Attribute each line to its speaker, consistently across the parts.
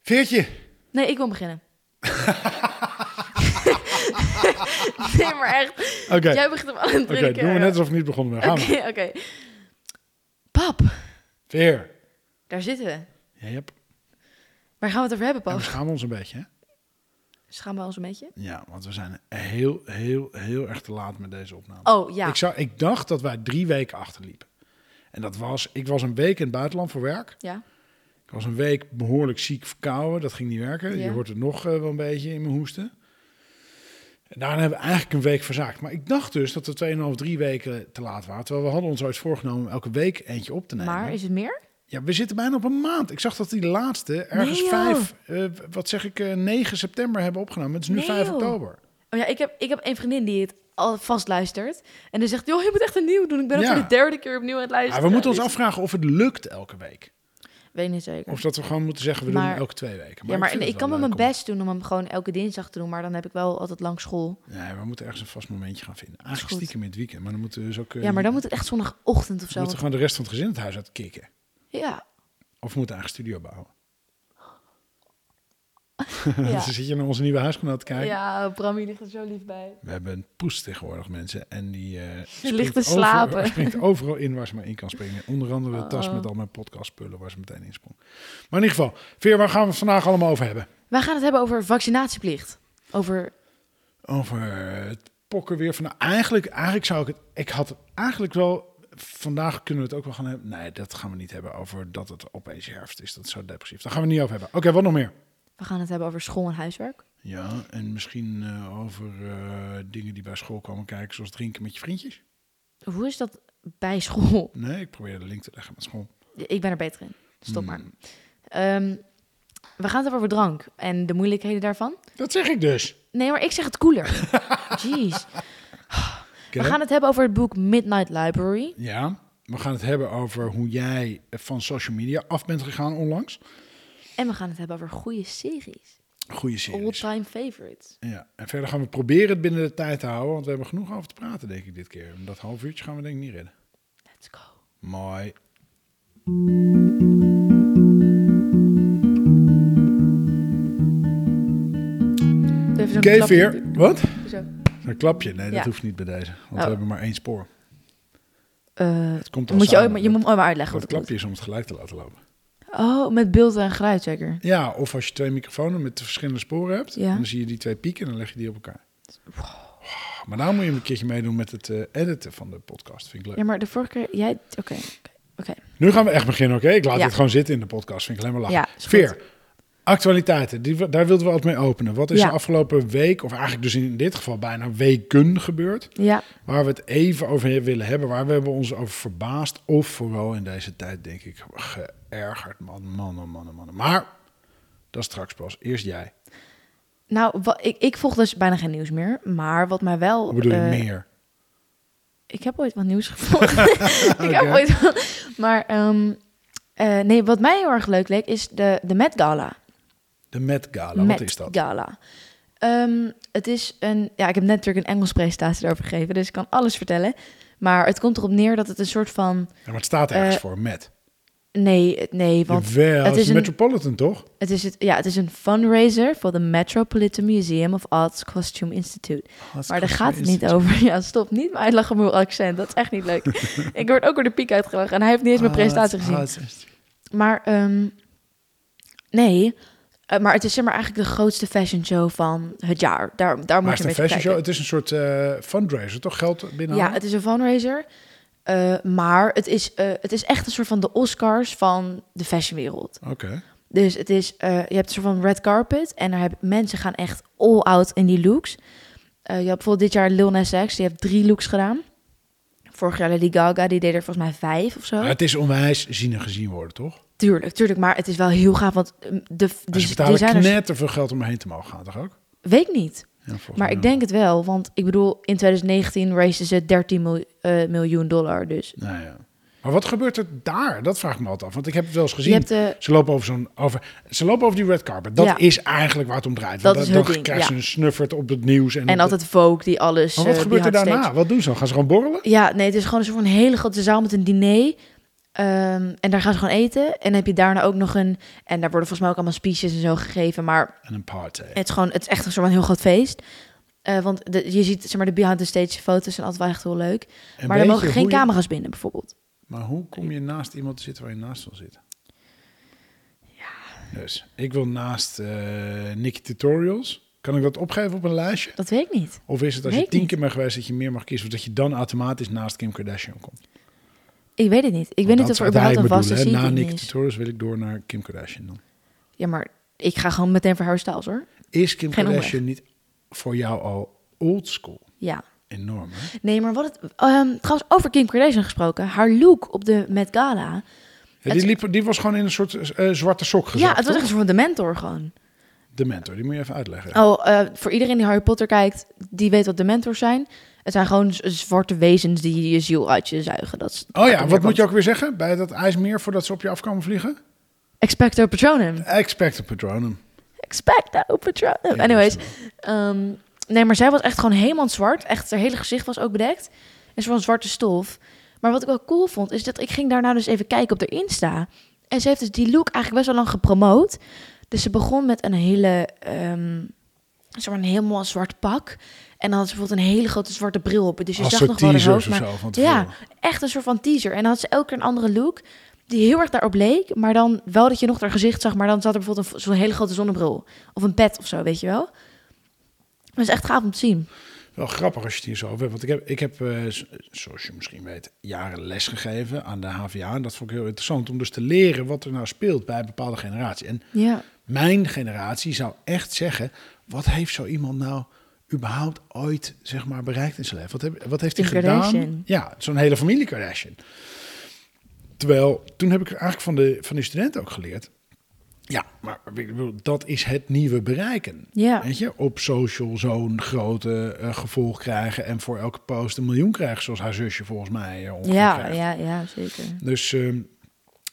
Speaker 1: Veertje.
Speaker 2: Nee, ik wil beginnen. nee, maar echt.
Speaker 1: Oké,
Speaker 2: Jij begint hem al een
Speaker 1: oké,
Speaker 2: drie keer.
Speaker 1: doen we net alsof we niet begonnen zijn. Gaan
Speaker 2: Oké,
Speaker 1: we.
Speaker 2: oké. Pap,
Speaker 1: Veer.
Speaker 2: daar zitten we.
Speaker 1: Ja, yep.
Speaker 2: Oh. Waar gaan we het over hebben,
Speaker 1: En Nou,
Speaker 2: pap?
Speaker 1: we schamen ons een beetje, hè?
Speaker 2: Schamen we ons een beetje?
Speaker 1: Ja, want we zijn heel, heel, heel erg te laat met deze opname.
Speaker 2: Oh, ja.
Speaker 1: Ik, zou, ik dacht dat wij drie weken achterliepen. En dat was, ik was een week in het buitenland voor werk.
Speaker 2: Ja.
Speaker 1: Ik was een week behoorlijk ziek verkouden. Dat ging niet werken.
Speaker 2: Ja.
Speaker 1: Je hoort het nog eh, wel een beetje in mijn hoesten. En daarna hebben we eigenlijk een week verzaakt. Maar ik dacht dus dat we 2,5, drie weken te laat waren. Terwijl we hadden ons ooit voorgenomen om elke week eentje op te nemen.
Speaker 2: Maar is het meer?
Speaker 1: Ja, we zitten bijna op een maand. Ik zag dat die laatste ergens
Speaker 2: Nee, joh.
Speaker 1: 5, eh, wat zeg ik, eh, 9 september hebben opgenomen. Het is nu
Speaker 2: Nee,
Speaker 1: 5
Speaker 2: joh.
Speaker 1: oktober.
Speaker 2: Oh ja, ik heb, ik heb een vriendin die het al vast luistert. En die zegt, joh, je moet echt een nieuw doen. Ik ben al
Speaker 1: Ja.
Speaker 2: voor de derde keer opnieuw aan het
Speaker 1: Ja,
Speaker 2: luisteren.
Speaker 1: we moeten ons
Speaker 2: Dus-
Speaker 1: afvragen of het lukt elke week.
Speaker 2: Weet niet zeker.
Speaker 1: Of dat we gewoon moeten zeggen, we doen
Speaker 2: Maar-
Speaker 1: hem elke twee weken.
Speaker 2: ja, maar
Speaker 1: vind
Speaker 2: ik,
Speaker 1: het
Speaker 2: kan
Speaker 1: wel
Speaker 2: wel mijn
Speaker 1: leuk om-
Speaker 2: best doen om hem gewoon elke dinsdag te doen. Maar dan heb ik wel altijd lang school.
Speaker 1: Nee, we moeten ergens een vast momentje gaan vinden. Eigenlijk
Speaker 2: goed.
Speaker 1: stiekem in het weekend, maar dan moeten we dus ook... eh,
Speaker 2: Ja, maar dan moet het echt zondagochtend of
Speaker 1: we
Speaker 2: zo.
Speaker 1: moeten gewoon de rest van het gezin het huis uit kicken.
Speaker 2: Ja.
Speaker 1: Of we moeten eigen studio bouwen.
Speaker 2: Ja.
Speaker 1: Dan zit je naar onze nieuwe huisgenoot te kijken.
Speaker 2: ja, Brammy ligt er zo lief bij.
Speaker 1: We hebben een poes tegenwoordig, mensen. En die eh,
Speaker 2: ligt te
Speaker 1: springt
Speaker 2: slapen.
Speaker 1: Overal, springt overal in waar ze maar in kan springen. Onder andere de tas
Speaker 2: Oh.
Speaker 1: met al mijn podcastspullen waar ze meteen in sprong. Maar in ieder geval, Veer, waar gaan we het vandaag allemaal over hebben?
Speaker 2: Wij gaan het hebben over vaccinatieplicht. Over,
Speaker 1: Over het pokken weer van... Nou, eigenlijk, eigenlijk zou ik het... Ik had eigenlijk wel... Vandaag kunnen we het ook wel gaan hebben. Nee, dat gaan we niet hebben over dat het opeens herfst is. Dat is zo depressief. Daar gaan we het niet over hebben. Oké, wat nog meer?
Speaker 2: we gaan het hebben over school en huiswerk.
Speaker 1: Ja, en misschien eh, over eh, dingen die bij school komen kijken, zoals drinken met je vriendjes.
Speaker 2: Hoe is dat bij school?
Speaker 1: Nee, ik probeer de link te leggen met school.
Speaker 2: Ik ben er beter in. Stop maar.
Speaker 1: Hmm.
Speaker 2: Ehm, we gaan het hebben over drank en de moeilijkheden daarvan.
Speaker 1: Dat zeg ik dus.
Speaker 2: Nee, maar ik zeg het cooler. Jeez. We
Speaker 1: Oké.
Speaker 2: gaan het hebben over het boek Midnight Library.
Speaker 1: Ja, we gaan het hebben over hoe jij eh, van social media af bent gegaan onlangs.
Speaker 2: En we gaan het hebben over goede series.
Speaker 1: Goeie series.
Speaker 2: All-time favorites.
Speaker 1: Ja, en verder gaan we proberen het binnen de tijd te houden, want we hebben genoeg over te praten, denk ik, dit keer. En Dat half uurtje gaan we denk ik niet redden.
Speaker 2: Let's go.
Speaker 1: Mooi.
Speaker 2: Doe even zo'n
Speaker 1: Oké,
Speaker 2: klapje.
Speaker 1: Veer. Wat?
Speaker 2: Zo.
Speaker 1: Een klapje? Nee, dat
Speaker 2: Ja.
Speaker 1: hoeft niet bij deze, want
Speaker 2: Oh.
Speaker 1: we hebben maar één spoor.
Speaker 2: Eh,
Speaker 1: Het komt al
Speaker 2: moet je,
Speaker 1: samen.
Speaker 2: ooit, maar- je moet ooit maar uitleggen
Speaker 1: Het
Speaker 2: wat het
Speaker 1: klapje is om het gelijk te laten lopen.
Speaker 2: is. Oh, met beeld en geluid zeker.
Speaker 1: Ja, of als je twee microfoons met verschillende sporen hebt,
Speaker 2: Ja.
Speaker 1: dan zie je die twee pieken en dan leg je die op elkaar. Wow, Maar daar moet je een keertje meedoen met het eh, editen van de podcast. Vind ik leuk.
Speaker 2: Ja, maar de vorige keer... Jij... Oké. oké, Oké.
Speaker 1: Nu gaan we echt beginnen, oké? Ik laat
Speaker 2: Ja.
Speaker 1: dit gewoon zitten in de podcast. Vind ik alleen maar lachen.
Speaker 2: Ja, is goed.
Speaker 1: Veer, actualiteiten. Die, daar wilden we altijd mee openen. Wat is
Speaker 2: Ja.
Speaker 1: de afgelopen week, of eigenlijk dus in dit geval bijna weken gebeurd...
Speaker 2: Ja.
Speaker 1: waar we het even over willen hebben, waar we hebben ons over verbaasd... of vooral in deze tijd, denk ik, geërgerd. Man, man, oh, man, oh, man. Maar dat straks pas. Eerst jij.
Speaker 2: Nou, wa- ik, ik volg dus bijna geen nieuws meer. Maar wat mij wel...
Speaker 1: Hoe bedoel je
Speaker 2: eh,
Speaker 1: meer?
Speaker 2: Ik heb ooit wat nieuws gevolgd. ik heb
Speaker 1: Oké.
Speaker 2: ooit wat... Maar ehm, eh, nee, wat mij heel erg leuk leek is de, de Met Gala.
Speaker 1: De Met Gala,
Speaker 2: Met
Speaker 1: wat is dat?
Speaker 2: Gala. Ehm, het is een... Ja, ik heb net natuurlijk een Engels presentatie daarover gegeven. Dus ik kan alles vertellen. Maar het komt erop neer dat het een soort van...
Speaker 1: Ja, maar het staat ergens
Speaker 2: Eh,
Speaker 1: voor, met.
Speaker 2: Nee, nee, want
Speaker 1: Jawel,
Speaker 2: het
Speaker 1: het is
Speaker 2: is een-
Speaker 1: Metropolitan, toch?
Speaker 2: Het is, het, ja, het is een fundraiser voor de Metropolitan Museum of Arts Costume Institute. maar daar gaat het niet over. Ja, stop niet me uitlachen om mijn accent. Dat is echt niet leuk. ik word ook door de piek uitgelachen en hij heeft niet eens mijn
Speaker 1: Ah,
Speaker 2: presentatie gezien. Oh, Maar, ehm, nee. Eh, maar het is zeg maar eigenlijk de grootste fashion show van het jaar. Daar,
Speaker 1: Maar
Speaker 2: daar moet
Speaker 1: het
Speaker 2: je
Speaker 1: is een fashion
Speaker 2: mee kijken.
Speaker 1: show. Het is een soort eh, fundraiser, toch? Geld binnenhalen?
Speaker 2: Ja, het is een fundraiser. Eh, maar het is, eh, het is echt een soort van de Oscars van de fashionwereld.
Speaker 1: Oké.
Speaker 2: Dus het is, eh, je hebt een soort van red carpet en daar heb, mensen gaan echt all out in die looks. Eh, je hebt bijvoorbeeld dit jaar Lil Nas X, die heeft drie looks gedaan. Vorig jaar Lady Gaga, die deed er volgens mij vijf of zo.
Speaker 1: Maar het is onwijs zien en gezien worden, toch?
Speaker 2: Tuurlijk, tuurlijk, maar het is wel heel gaaf, want ehm, de,
Speaker 1: Dus ze
Speaker 2: de
Speaker 1: betalen
Speaker 2: designers...
Speaker 1: knetter veel geld om heen te mogen gaan, toch ook?
Speaker 2: Weet ik niet,
Speaker 1: Ja, volgens
Speaker 2: maar
Speaker 1: mij
Speaker 2: ik
Speaker 1: wel.
Speaker 2: denk het wel, want ik bedoel, in 2019 raisden ze 13 mil- eh, miljoen dollar, dus...
Speaker 1: Nou ja. Maar wat gebeurt er daar? Dat vraag ik me altijd af. Want ik heb het wel eens gezien.
Speaker 2: Je hebt eh, de...
Speaker 1: Ze lopen over zo'n over. Ze lopen over die red carpet. Dat
Speaker 2: Ja.
Speaker 1: is eigenlijk waar het om draait.
Speaker 2: Dat
Speaker 1: Want
Speaker 2: is
Speaker 1: dan
Speaker 2: hun ding,
Speaker 1: krijgen ze
Speaker 2: ja.
Speaker 1: een snuffert op het nieuws. En, op
Speaker 2: En
Speaker 1: de-
Speaker 2: altijd Vogue, die alles...
Speaker 1: Maar wat
Speaker 2: eh,
Speaker 1: gebeurt er
Speaker 2: behind stage-
Speaker 1: daarna? Wat doen ze? dan? Gaan ze gewoon borrelen?
Speaker 2: Ja, nee, het is gewoon een soort van hele grote zaal met een diner. Ehm, en daar gaan ze gewoon eten. En dan heb je daarna ook nog een... En daar worden volgens mij ook allemaal speeches en zo gegeven. Maar
Speaker 1: En een party.
Speaker 2: het is gewoon, het is echt een soort van heel groot feest. Eh, want de- je ziet, zeg maar, de behind the stage foto's zijn altijd wel echt heel leuk.
Speaker 1: En
Speaker 2: maar
Speaker 1: weet
Speaker 2: er
Speaker 1: je
Speaker 2: mogen geen
Speaker 1: hoe je-
Speaker 2: camera's binnen, bijvoorbeeld.
Speaker 1: Maar hoe kom je naast iemand te zitten waar je naast wil zitten? Ja. Dus ik wil naast eh Nicky Tutorials. Kan ik dat opgeven op een lijstje?
Speaker 2: Dat weet ik niet.
Speaker 1: Of is het als
Speaker 2: Weet
Speaker 1: je tien
Speaker 2: niet.
Speaker 1: keer bent geweest dat je meer mag kiezen, of dat je dan automatisch naast Kim Kardashian komt?
Speaker 2: Ik weet het niet. Ik weet niet of er überhaupt een vaste
Speaker 1: is. Na
Speaker 2: seating
Speaker 1: Nicky
Speaker 2: is.
Speaker 1: Tutorials wil ik door naar Kim Kardashian dan.
Speaker 2: Ja, maar ik ga gewoon meteen voor Harry Styles, hoor.
Speaker 1: Is Kim
Speaker 2: Geen
Speaker 1: Kardashian niet voor jou al old school?
Speaker 2: Ja.
Speaker 1: Enorm, hè?
Speaker 2: Nee, maar wat het... ehm, trouwens, over Kim Kardashian gesproken. Haar look op de Met Gala.
Speaker 1: Ja,
Speaker 2: Het-
Speaker 1: die, liep, die was gewoon in een soort eh, zwarte sok gezet.
Speaker 2: ja, het was echt een soort van de mentor gewoon.
Speaker 1: De mentor, die moet je even uitleggen.
Speaker 2: Oh, eh, voor iedereen die Harry Potter kijkt, die weet wat de mentors zijn. Het zijn gewoon z- zwarte wezens die je ziel uit je zuigen. Dat is
Speaker 1: Oh ja, wat moet je ook weer zeggen? Bij dat ijsmeer voordat ze op je af komen vliegen?
Speaker 2: Expecto Patronum.
Speaker 1: Expect a patronum.
Speaker 2: Expecto Patronum. Anyways. ehm, nee, maar zij was echt gewoon helemaal zwart. Echt, haar hele gezicht was ook bedekt. En ze was zwarte stof. Maar wat ik wel cool vond, is dat ik ging daarna dus even kijken op haar Insta. En ze heeft dus die look eigenlijk best wel lang gepromoot. Dus ze begon met een hele, ehm zeg maar een helemaal zwart pak. En dan had ze bijvoorbeeld een hele grote zwarte bril op. Dus je
Speaker 1: Als
Speaker 2: zag
Speaker 1: soort
Speaker 2: nog wel haar
Speaker 1: teasers of
Speaker 2: hoofd, maar
Speaker 1: zo. Van
Speaker 2: ja,
Speaker 1: tevoren.
Speaker 2: echt een soort van teaser. En dan had ze elke keer een andere look die heel erg daarop leek. Maar dan wel dat je nog haar gezicht zag. Maar dan zat er bijvoorbeeld een- zo'n hele grote zonnebril. Of een pet of zo, weet je wel. Dat is echt gaaf om te zien.
Speaker 1: Wel grappig als je het hier zo over hebt. Want ik heb, ik heb eh, z- zoals je misschien weet, jaren les gegeven aan de HVA. En dat vond ik heel interessant om dus te leren wat er nou speelt bij een bepaalde generatie. En
Speaker 2: Ja.
Speaker 1: mijn generatie zou echt zeggen, wat heeft zo iemand nou überhaupt ooit zeg maar, bereikt in zijn leven? Wat, heb, wat heeft hij
Speaker 2: Kim
Speaker 1: gedaan?
Speaker 2: Kardashian.
Speaker 1: Ja, zo'n hele familie Kardashian. Terwijl, toen heb ik eigenlijk van, de, van die studenten ook geleerd. Ja, maar ik bedoel, dat is het nieuwe bereiken.
Speaker 2: Ja.
Speaker 1: Weet je, op social zo'n grote eh, gevolg krijgen en voor elke post een miljoen krijgen, zoals haar zusje volgens mij. eh, ongeveer
Speaker 2: Ja,
Speaker 1: krijgt.
Speaker 2: ja, ja, zeker.
Speaker 1: Dus, ehm,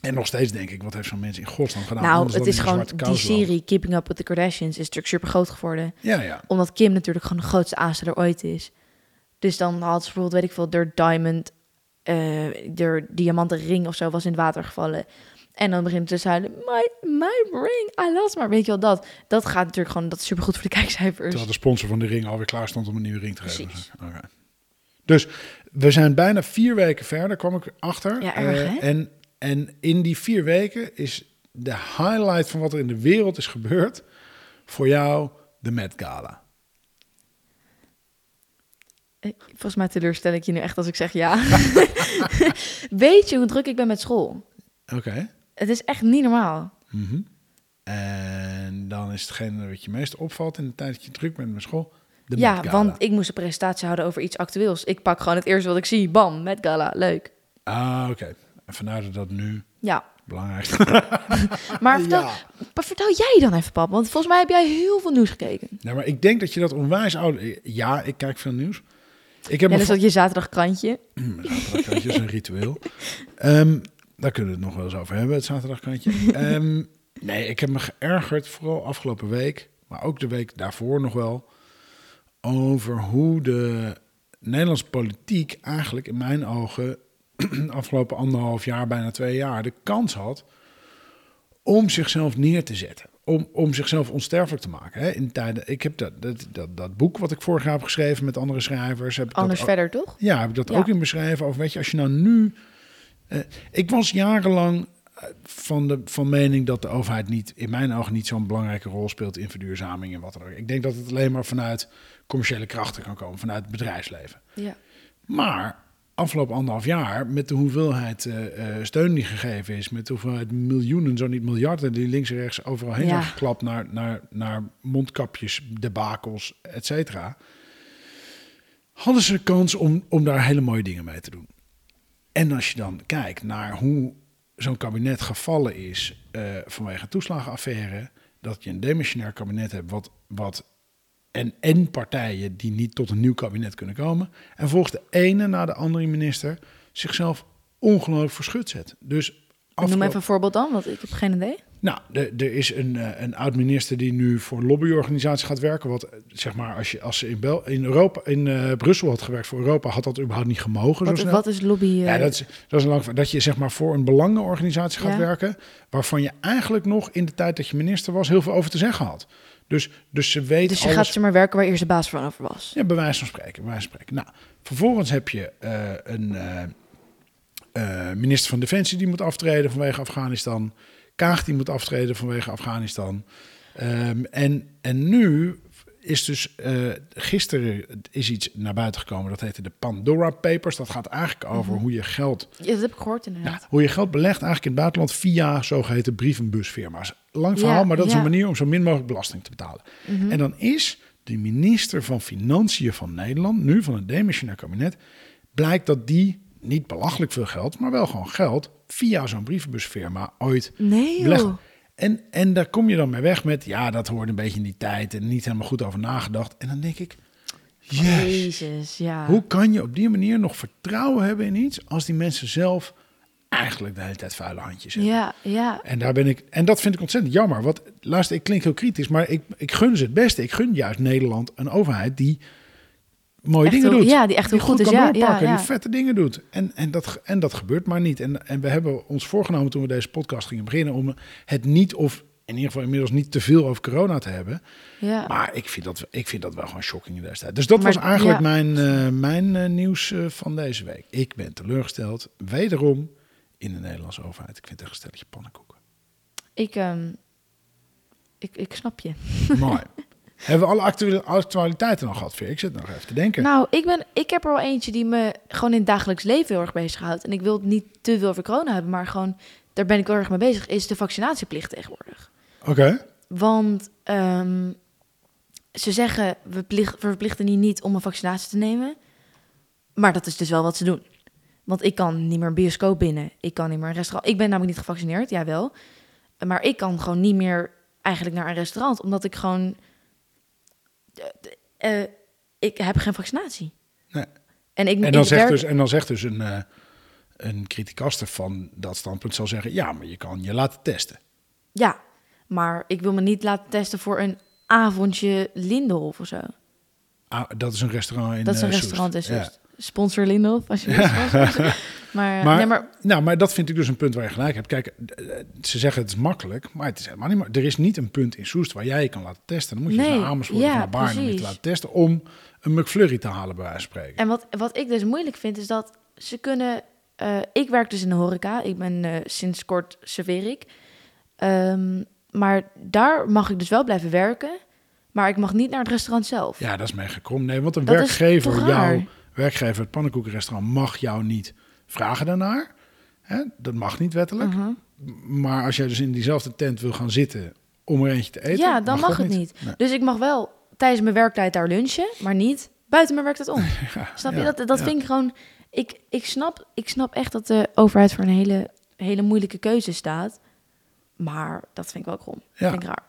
Speaker 1: en nog steeds denk ik, wat heeft zo'n mens in godsnaam gedaan?
Speaker 2: nou,
Speaker 1: Anders
Speaker 2: het
Speaker 1: dan
Speaker 2: is
Speaker 1: in een
Speaker 2: gewoon
Speaker 1: zwarte
Speaker 2: die
Speaker 1: kous lopen.
Speaker 2: serie Keeping Up with the Kardashians is natuurlijk super groot geworden.
Speaker 1: Ja, ja.
Speaker 2: Omdat Kim natuurlijk gewoon de grootste aansteller ooit is. Dus dan had ze bijvoorbeeld, weet ik veel, door diamond, eh door diamanten ring of zo was in het water gevallen. En dan begint ze te huilen, my, my ring, I lost maar Weet je wel, dat, dat gaat natuurlijk gewoon, dat is supergoed voor de kijkcijfers.
Speaker 1: Terwijl de sponsor van de ring alweer klaar stond om een nieuwe ring te geven.
Speaker 2: Precies.
Speaker 1: Oké. Dus we zijn bijna vier weken verder, kwam ik achter.
Speaker 2: Ja, erg,
Speaker 1: Eh,
Speaker 2: hè?
Speaker 1: en, en in die vier weken is de highlight van wat er in de wereld is gebeurd voor jou de Met Gala.
Speaker 2: Eh, Volgens mij teleurstel ik je nu echt als ik zeg ja. Weet je hoe druk ik ben met school?
Speaker 1: Oké.
Speaker 2: Het is echt niet normaal.
Speaker 1: Mhm. En dan is hetgene wat je meest opvalt in de tijd dat je druk bent met school, de
Speaker 2: ja,
Speaker 1: Met Gala.
Speaker 2: want ik moest een presentatie houden over iets actueels. Ik pak gewoon het eerste wat ik zie, bam, met gala, leuk.
Speaker 1: Ah, oké. En vandaar dat dat nu
Speaker 2: Ja,
Speaker 1: belangrijk is.
Speaker 2: maar vertel,
Speaker 1: Ja.
Speaker 2: Maar vertel jij dan even, pap. Want volgens mij heb jij heel veel nieuws gekeken.
Speaker 1: Nou, maar ik denk dat je dat onwijs oud... Ja, ik kijk veel nieuws. Ik heb
Speaker 2: Ja,
Speaker 1: me
Speaker 2: dus
Speaker 1: vo-
Speaker 2: dat je zaterdagkrantje.
Speaker 1: zaterdagkrantje is een ritueel. Ehm, daar kunnen we het nog wel eens over hebben, het zaterdagkrantje. Ehm, nee, ik heb me geërgerd, vooral afgelopen week, maar ook de week daarvoor nog wel, over hoe de Nederlandse politiek eigenlijk in mijn ogen afgelopen anderhalf jaar, bijna twee jaar, de kans had om zichzelf neer te zetten. Om, om zichzelf onsterfelijk te maken. Hè? In tijden, ik heb dat, dat, dat, dat boek wat ik vorig jaar heb geschreven met andere schrijvers. Heb ik dat
Speaker 2: Anders
Speaker 1: ook-
Speaker 2: verder, toch?
Speaker 1: ja, heb ik dat
Speaker 2: Ja.
Speaker 1: ook in beschreven. Of weet je, als je nou nu. eh, ik was jarenlang eh, van, de, van mening dat de overheid niet, in mijn ogen niet zo'n belangrijke rol speelt in verduurzaming en wat dan ook. Ik denk dat het alleen maar vanuit commerciële krachten kan komen, vanuit het bedrijfsleven.
Speaker 2: Ja.
Speaker 1: Maar afgelopen anderhalf jaar, met de hoeveelheid eh, eh, steun die gegeven is, met de hoeveelheid miljoenen, zo niet miljarden, die links en rechts overal heen
Speaker 2: Ja.
Speaker 1: zijn geklapt naar, naar, naar mondkapjes, debakels, et cetera. Hadden ze de kans om, om daar hele mooie dingen mee te doen. En als je dan kijkt naar hoe zo'n kabinet gevallen is eh, vanwege een toeslagenaffaire, dat je een demissionair kabinet hebt wat, wat en, en partijen die niet tot een nieuw kabinet kunnen komen, en volgens de ene na de andere minister zichzelf ongelooflijk verschut zet. Dus
Speaker 2: Noem
Speaker 1: afgelopen-
Speaker 2: even een voorbeeld dan, want ik heb geen idee.
Speaker 1: Nou, de- er is een, eh, een oud-minister die nu voor lobbyorganisaties gaat werken. Wat eh, zeg maar, als, je, als ze in, Bel in, Europa, in eh, Brussel had gewerkt voor Europa, had dat überhaupt niet gemogen. zo
Speaker 2: Wat,
Speaker 1: snel.
Speaker 2: wat is lobby? eh,
Speaker 1: Ja, dat is, dat is een lang verhaal. Dat je zeg maar voor een belangenorganisatie gaat
Speaker 2: Ja.
Speaker 1: werken. waarvan je eigenlijk nog in de tijd dat je minister was. heel veel over te zeggen had. Dus, dus ze weet
Speaker 2: dus je
Speaker 1: alles.
Speaker 2: gaat ze maar werken waar eerst de baas van over was.
Speaker 1: Ja, bij wijze van spreken. Bij wijze van spreken. Nou, vervolgens heb je eh, een eh, eh, minister van Defensie die moet aftreden vanwege Afghanistan. Kaag die moet aftreden vanwege Afghanistan. Ehm, en, en nu is dus eh, gisteren is iets naar buiten gekomen. Dat heette de Pandora Papers. Dat gaat eigenlijk over
Speaker 2: Mhm.
Speaker 1: hoe je geld
Speaker 2: Ja, dat heb ik gehoord inderdaad.
Speaker 1: ja, hoe je geld belegt eigenlijk in het buitenland via zogeheten brievenbusfirma's. Lang verhaal,
Speaker 2: Ja,
Speaker 1: maar dat is
Speaker 2: ja. Mhm.
Speaker 1: een manier om zo min mogelijk belasting te betalen. En dan is de minister van Financiën van Nederland, nu van het demissionair kabinet, blijkt dat die niet belachelijk veel geld, maar wel gewoon geld via zo'n brievenbusfirma ooit
Speaker 2: Nee joh.
Speaker 1: belegd. En, en daar kom je dan mee weg met, ja, dat hoort een beetje in die tijd en niet helemaal goed over nagedacht. En dan denk ik, jezus.
Speaker 2: Jezus, ja.
Speaker 1: Hoe kan je op die manier nog vertrouwen hebben in iets als die mensen zelf eigenlijk de hele tijd vuile handjes hebben?
Speaker 2: Ja, ja.
Speaker 1: En daar ben ik. En dat vind ik ontzettend jammer. Want luister, ik klink heel kritisch, maar ik, ik gun ze het beste. Ik gun juist Nederland een overheid die mooie
Speaker 2: Echt
Speaker 1: dingen
Speaker 2: heel-
Speaker 1: doet.
Speaker 2: ja, die echt heel goed
Speaker 1: kan
Speaker 2: is. Ja, ja,
Speaker 1: doorpakken,
Speaker 2: ja.
Speaker 1: die vette dingen doet. En, en, dat, en dat gebeurt maar niet. En, en we hebben ons voorgenomen toen we deze podcast gingen beginnen om het niet of in ieder geval inmiddels niet te veel over corona te hebben.
Speaker 2: ja.
Speaker 1: Maar ik vind, dat, ik vind dat wel gewoon shocking in deze tijd. Dus dat
Speaker 2: Maar-
Speaker 1: was eigenlijk
Speaker 2: ja.
Speaker 1: mijn, eh, mijn eh, nieuws eh, van deze week. Ik ben teleurgesteld, wederom, in de Nederlandse overheid. Ik vind het echt een stelletje pannenkoeken.
Speaker 2: Ik, ehm, ik, ik snap je.
Speaker 1: Mooi. Hebben we alle actuele- actualiteiten al gehad, Veer? Ik zit nog even te denken.
Speaker 2: Nou, ik, ben, ik heb er wel eentje die me gewoon in het dagelijks leven heel erg bezighoudt. En ik wil het niet te veel over corona hebben, maar gewoon daar ben ik heel erg mee bezig. Is de vaccinatieplicht tegenwoordig?
Speaker 1: Oké.
Speaker 2: Want ehm, ze zeggen, we, plicht- we verplichten je niet om een vaccinatie te nemen. Maar dat is dus wel wat ze doen. Want ik kan niet meer een bioscoop binnen. Ik kan niet meer een restaurant. Ik ben namelijk niet gevaccineerd, jawel. Maar ik kan gewoon niet meer eigenlijk naar een restaurant. Omdat ik gewoon... eh, eh, ik heb geen vaccinatie.
Speaker 1: Nee.
Speaker 2: En, ik,
Speaker 1: En, dan
Speaker 2: ik
Speaker 1: zegt
Speaker 2: werk-
Speaker 1: dus, en dan zegt dus een, eh een criticaster van dat standpunt zal zeggen... ja, maar je kan je laten testen.
Speaker 2: Ja, maar ik wil me niet laten testen voor een avondje Lindenhof of zo.
Speaker 1: Ah, dat is een restaurant in
Speaker 2: Dat is een
Speaker 1: eh, Soest.
Speaker 2: restaurant in
Speaker 1: Ja.
Speaker 2: Soest. Sponsor Lindenhof, als je wil sponsoren. maar, eh,
Speaker 1: Maar,
Speaker 2: nee, maar
Speaker 1: Nou, maar dat vind ik dus een punt waar je gelijk hebt. Kijk, eh, ze zeggen het is makkelijk, maar het is helemaal niet makkelijk. Er is niet een punt in Soest waar jij je kan laten testen. Dan moet je
Speaker 2: Nee,
Speaker 1: dus naar Amersfoort
Speaker 2: ja,
Speaker 1: of naar Baarn om je te
Speaker 2: precies.
Speaker 1: laten testen... om een McFlurry te halen, bij wijze van spreken.
Speaker 2: En wat, wat ik dus moeilijk vind, is dat ze kunnen... eh, ik werk dus in de horeca. Ik ben eh, sinds kort serveer ik. Ehm, maar daar mag ik dus wel blijven werken. Maar ik mag niet naar het restaurant zelf.
Speaker 1: Ja, dat is mega krom. Nee, want een
Speaker 2: Dat is
Speaker 1: werkgever,
Speaker 2: toch raar?
Speaker 1: jouw werkgever, het pannenkoekenrestaurant, mag jou niet vragen daarnaar. Hè? Dat mag niet wettelijk.
Speaker 2: Mhm.
Speaker 1: Maar als jij dus in diezelfde tent wil gaan zitten om er eentje te eten,
Speaker 2: ja, dan mag,
Speaker 1: dat
Speaker 2: het niet.
Speaker 1: Nee.
Speaker 2: Dus ik mag wel tijdens mijn werktijd daar lunchen, maar niet buiten mijn werktijd om.
Speaker 1: Ja,
Speaker 2: Snap
Speaker 1: ja,
Speaker 2: je? Dat, dat
Speaker 1: ja.
Speaker 2: vind ik gewoon... Ik, ik, snap, ik snap echt dat de overheid voor een hele, hele moeilijke keuze staat. Maar dat vind ik wel krom.
Speaker 1: Ja.
Speaker 2: Vind ik raar.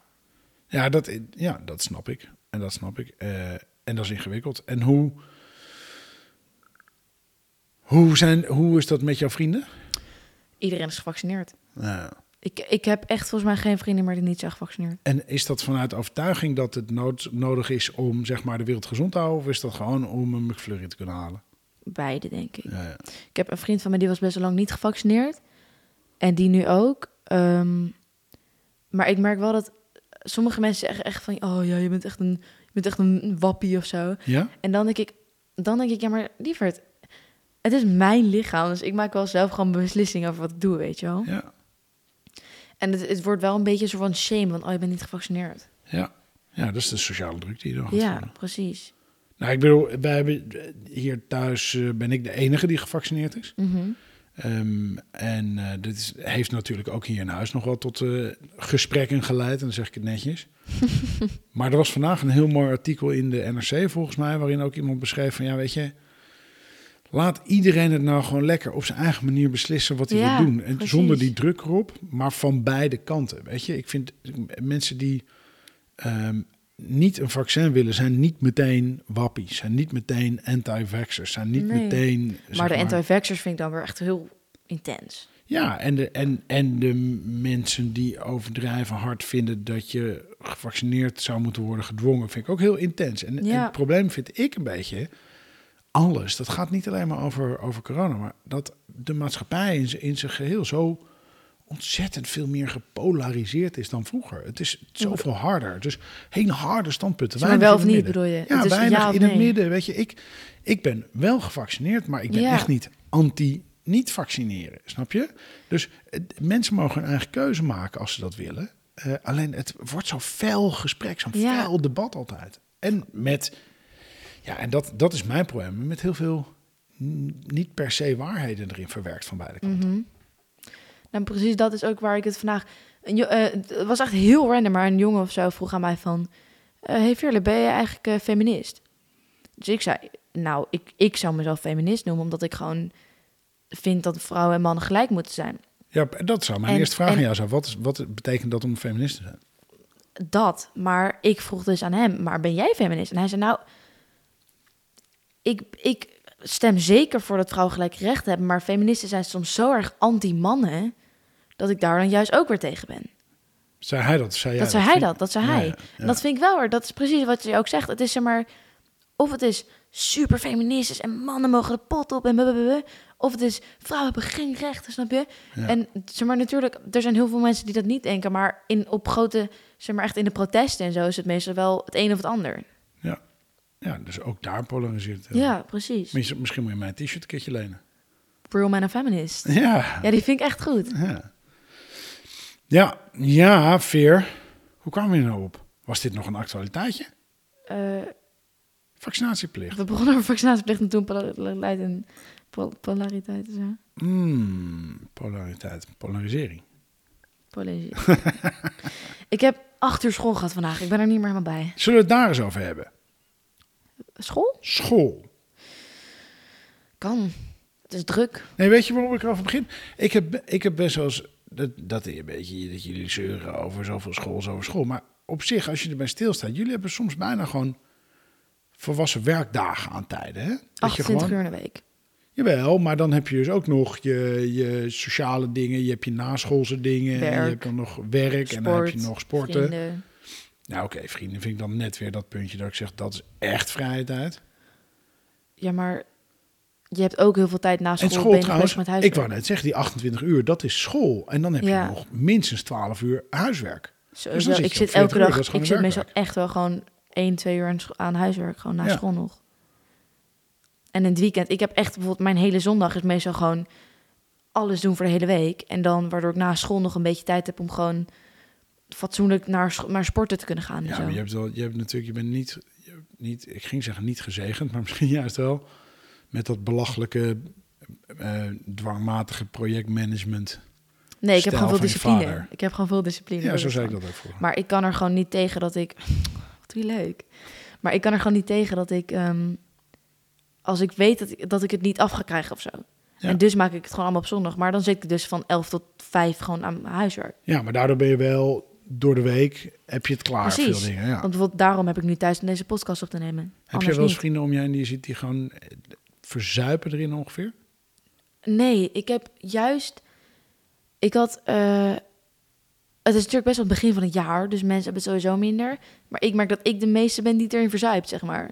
Speaker 1: Ja, dat, ja, dat snap ik. En dat snap ik. Eh, en dat is ingewikkeld. En hoe, hoe, zijn, hoe is dat met jouw vrienden?
Speaker 2: Iedereen is gevaccineerd.
Speaker 1: Nou,
Speaker 2: Ik, ik heb echt volgens mij geen vrienden meer die niet zijn gevaccineerd.
Speaker 1: en is dat vanuit overtuiging dat het nood, nodig is om zeg maar, de wereld gezond te houden? Of is dat gewoon om een McFlurry te kunnen halen?
Speaker 2: Beide, denk ik.
Speaker 1: Ja, ja.
Speaker 2: Ik heb een vriend van mij die was best wel lang niet gevaccineerd. En die nu ook. Ehm, maar ik merk wel dat sommige mensen zeggen echt van... Oh ja, je bent echt een, je bent echt een wappie of zo.
Speaker 1: Ja?
Speaker 2: En dan denk ik, dan denk ik ja, maar lieverd, het is mijn lichaam. Dus ik maak wel zelf gewoon beslissingen over wat ik doe, weet je wel.
Speaker 1: Ja.
Speaker 2: En het, het wordt wel een beetje een soort van shame, want oh, je bent niet gevaccineerd.
Speaker 1: ja. ja, dat is de sociale druk die je dan gaat
Speaker 2: ja,
Speaker 1: voelen.
Speaker 2: precies.
Speaker 1: Nou, ik bedoel, wij hebben eh, hier thuis eh, ben ik de enige die gevaccineerd is.
Speaker 2: Mhm.
Speaker 1: Ehm, en eh dit is, heeft natuurlijk ook hier in huis nog wel tot eh, gesprekken geleid. En dan zeg ik het netjes. maar er was vandaag een heel mooi artikel in de NRC volgens mij... waarin ook iemand beschreef van ja, weet je... Laat iedereen het nou gewoon lekker op zijn eigen manier beslissen wat hij
Speaker 2: Ja,
Speaker 1: wil doen. En
Speaker 2: precies.
Speaker 1: zonder die druk erop, maar van beide kanten. Weet je, ik vind eh, mensen die ehm, niet een vaccin willen, zijn niet meteen wappies. Zijn niet meteen anti-vaxxers. Zijn niet
Speaker 2: Nee.
Speaker 1: meteen. zeg
Speaker 2: Maar de anti-vaxxers vind ik dan weer echt heel intens.
Speaker 1: Ja, en de, en, en de mensen die overdrijven hard vinden dat je gevaccineerd zou moeten worden gedwongen, vind ik ook heel intens. En, en
Speaker 2: Ja.
Speaker 1: het probleem vind ik een beetje alles. Dat gaat niet alleen maar over, over corona, maar dat de maatschappij in, z'n- in zijn geheel zo ontzettend veel meer gepolariseerd is dan vroeger. Het is zoveel harder. Dus heen harde standpunten.
Speaker 2: Zeg maar
Speaker 1: weinig
Speaker 2: wel
Speaker 1: in
Speaker 2: of
Speaker 1: het
Speaker 2: niet,
Speaker 1: midden.
Speaker 2: bedoel je? Het
Speaker 1: Ja,
Speaker 2: is
Speaker 1: weinig
Speaker 2: ja of
Speaker 1: in het
Speaker 2: nee.
Speaker 1: midden. Weet je, ik, ik ben wel gevaccineerd, maar ik ben
Speaker 2: Ja.
Speaker 1: echt niet anti niet vaccineren, snap je? Dus eh, mensen mogen hun eigen keuze maken als ze dat willen. Eh, alleen het wordt zo'n fel gesprek, zo'n
Speaker 2: Ja.
Speaker 1: fel debat altijd. En met, ja, en dat, dat is mijn probleem, met heel veel n- niet per se waarheden erin verwerkt van beide kanten.
Speaker 2: Mhm. Nou, precies dat is ook waar ik het vandaag... een jo- eh, het was echt heel random, maar een jongen of zo vroeg aan mij van... eh hey Veerle, ben je eigenlijk eh, feminist? Dus ik zei, nou, ik, ik zou mezelf feminist noemen... omdat ik gewoon vind dat vrouwen en mannen gelijk moeten zijn.
Speaker 1: Ja, dat zou mijn
Speaker 2: En-
Speaker 1: eerste vraag
Speaker 2: en-
Speaker 1: aan jou zijn. Wat, is, wat betekent dat om feminist te zijn?
Speaker 2: dat. Maar ik vroeg dus aan hem, maar ben jij feminist? En hij zei, nou, ik, ik stem zeker voor dat vrouwen gelijk recht hebben... maar feministen zijn soms zo erg anti-mannen... dat ik daar dan juist ook weer tegen ben.
Speaker 1: Zei hij dat? Zei jij
Speaker 2: dat zei hij
Speaker 1: Vind-
Speaker 2: dat, dat zei
Speaker 1: Ja,
Speaker 2: hij.
Speaker 1: ja,
Speaker 2: En dat vind ik wel hoor, dat is precies wat je ook zegt. Het is zeg maar, of het is super feministisch en mannen mogen de pot op en blablabla. Of het is vrouwen hebben geen rechten, snap je?
Speaker 1: Ja.
Speaker 2: En zeg maar natuurlijk, er zijn heel veel mensen die dat niet denken, maar in, op grote, zeg maar echt in de protesten en zo is het meestal wel het een of het ander.
Speaker 1: Ja. ja, dus ook daar polariseert het.
Speaker 2: Ja, precies.
Speaker 1: Misschien, misschien moet je mijn t-shirt een keertje lenen.
Speaker 2: Real man en feminist.
Speaker 1: Ja.
Speaker 2: Ja, die vind ik echt goed.
Speaker 1: Ja, ja, ja Veer. Hoe kwamen we hier nou op? Was dit nog een actualiteitje?
Speaker 2: Eh,
Speaker 1: Vaccinatieplicht.
Speaker 2: we begonnen over vaccinatieplicht en toen pola- leidt een pol- polariteit. Dus, ja.
Speaker 1: Mm, polariteit, polarisering.
Speaker 2: College. ik heb acht uur school gehad vandaag. Ik ben er niet meer helemaal bij.
Speaker 1: Zullen we het daar eens over hebben?
Speaker 2: School?
Speaker 1: School.
Speaker 2: Kan. Het is druk.
Speaker 1: Nee, weet je waarom ik erover begin? Ik heb, ik heb best wel eens... Dat, dat een beetje dat jullie zeuren over zoveel school, zoveel school. Maar op zich, als je erbij stilstaat... Jullie hebben soms bijna gewoon volwassen werkdagen aan tijden, hè? Dat je
Speaker 2: 28
Speaker 1: gewoon
Speaker 2: uur in de week.
Speaker 1: Jawel, maar dan heb je dus ook nog je, je sociale dingen, je hebt je naschoolse dingen, en je
Speaker 2: Werk.
Speaker 1: hebt dan nog werk en dan heb
Speaker 2: Sport,
Speaker 1: je nog sporten.
Speaker 2: vrienden.
Speaker 1: Nou oké, vrienden vind ik dan net weer dat puntje dat ik zeg, dat is echt vrije tijd.
Speaker 2: Ja, maar je hebt ook heel veel tijd na school.
Speaker 1: en school
Speaker 2: ben je
Speaker 1: trouwens,
Speaker 2: bezig met
Speaker 1: ik
Speaker 2: huiswerk.
Speaker 1: wou net zeggen, die 28 uur, dat is school. En dan heb
Speaker 2: Ja.
Speaker 1: je nog minstens 12 uur huiswerk.
Speaker 2: Zo
Speaker 1: dus
Speaker 2: is
Speaker 1: dan
Speaker 2: wel-
Speaker 1: zit
Speaker 2: ik
Speaker 1: je op
Speaker 2: zit elke
Speaker 1: 40 uur,
Speaker 2: dag,
Speaker 1: dat is gewoon
Speaker 2: ik
Speaker 1: een
Speaker 2: zit meestal
Speaker 1: werkdag.
Speaker 2: echt wel gewoon 1, 2 uur aan, scho- aan huiswerk. Gewoon na
Speaker 1: Ja.
Speaker 2: school nog. En in het weekend, ik heb echt bijvoorbeeld mijn hele zondag is meestal gewoon alles doen voor de hele week. En dan waardoor ik na school nog een beetje tijd heb om gewoon fatsoenlijk naar, scho- naar sporten te kunnen gaan. en
Speaker 1: Ja,
Speaker 2: zo.
Speaker 1: maar je hebt, wel, je hebt natuurlijk, je bent niet, je hebt niet, ik ging zeggen niet gezegend, maar misschien juist wel met dat belachelijke, eh, dwangmatige projectmanagement.
Speaker 2: Nee, ik heb
Speaker 1: Stijl
Speaker 2: gewoon
Speaker 1: van
Speaker 2: veel
Speaker 1: je
Speaker 2: discipline.
Speaker 1: vader.
Speaker 2: Ik heb gewoon veel discipline.
Speaker 1: Ja,
Speaker 2: dat
Speaker 1: zo
Speaker 2: is
Speaker 1: zei ik
Speaker 2: dan.
Speaker 1: dat ook vroeger.
Speaker 2: Maar ik kan er gewoon niet tegen dat ik. Wat doe je leuk. Maar ik kan er gewoon niet tegen dat ik. ehm, als ik weet dat ik, dat ik het niet af ga krijgen of zo.
Speaker 1: Ja.
Speaker 2: En dus maak ik het gewoon allemaal op zondag. Maar dan zit ik dus van 11 tot 5 gewoon aan mijn huiswerk.
Speaker 1: Ja, maar daardoor ben je wel door de week heb je het klaar Ah,
Speaker 2: Precies.
Speaker 1: veel dingen. Ja.
Speaker 2: Want bijvoorbeeld daarom heb ik nu thuis om deze podcast op te nemen.
Speaker 1: Heb
Speaker 2: Anders
Speaker 1: je wel eens
Speaker 2: niet.
Speaker 1: vrienden om je heen die je ziet die gewoon eh, verzuipen erin ongeveer?
Speaker 2: Nee, ik heb juist. Ik had. eh, het is natuurlijk best wel het begin van het jaar, dus mensen hebben het sowieso minder. Maar ik merk dat ik de meeste ben die het erin verzuipt, zeg maar.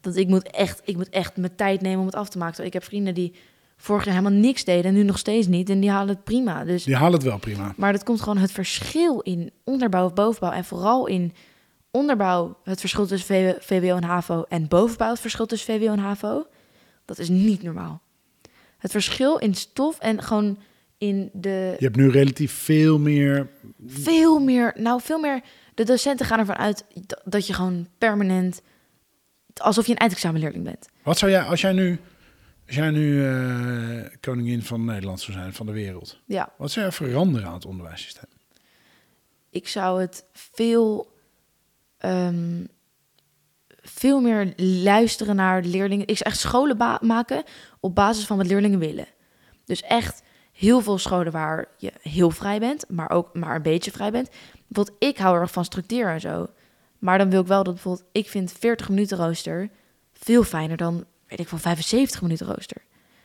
Speaker 2: Dat ik moet echt, ik moet echt mijn tijd nemen om het af te maken. Terwijl ik heb vrienden die vorig jaar helemaal niks deden en nu nog steeds niet. En die halen het prima. Dus,
Speaker 1: Die halen het wel prima.
Speaker 2: maar dat komt gewoon het verschil in onderbouw of bovenbouw. En vooral in onderbouw het verschil tussen V- VWO en HAVO. En bovenbouw het verschil tussen VWO en HAVO. Dat is niet normaal. Het verschil in stof en gewoon in de
Speaker 1: Je hebt nu relatief veel meer.
Speaker 2: veel meer, nou veel meer, de docenten gaan ervan uit d- dat je gewoon permanent, alsof je een eindexamenleerling bent.
Speaker 1: Wat zou jij, als jij nu, als jij nu eh, koningin van Nederland zou zijn, van de wereld,
Speaker 2: Ja,
Speaker 1: wat zou jij veranderen aan het onderwijssysteem?
Speaker 2: ik zou het veel, ehm, veel meer luisteren naar leerlingen. Ik zou echt scholen ba- maken op basis van wat leerlingen willen. Dus echt heel veel scholen waar je heel vrij bent, maar ook maar een beetje vrij bent. Want ik hou erg van structuur en zo. Maar dan wil ik wel dat bijvoorbeeld, ik vind 40 minuten rooster veel fijner dan, weet ik van 75 minuten rooster.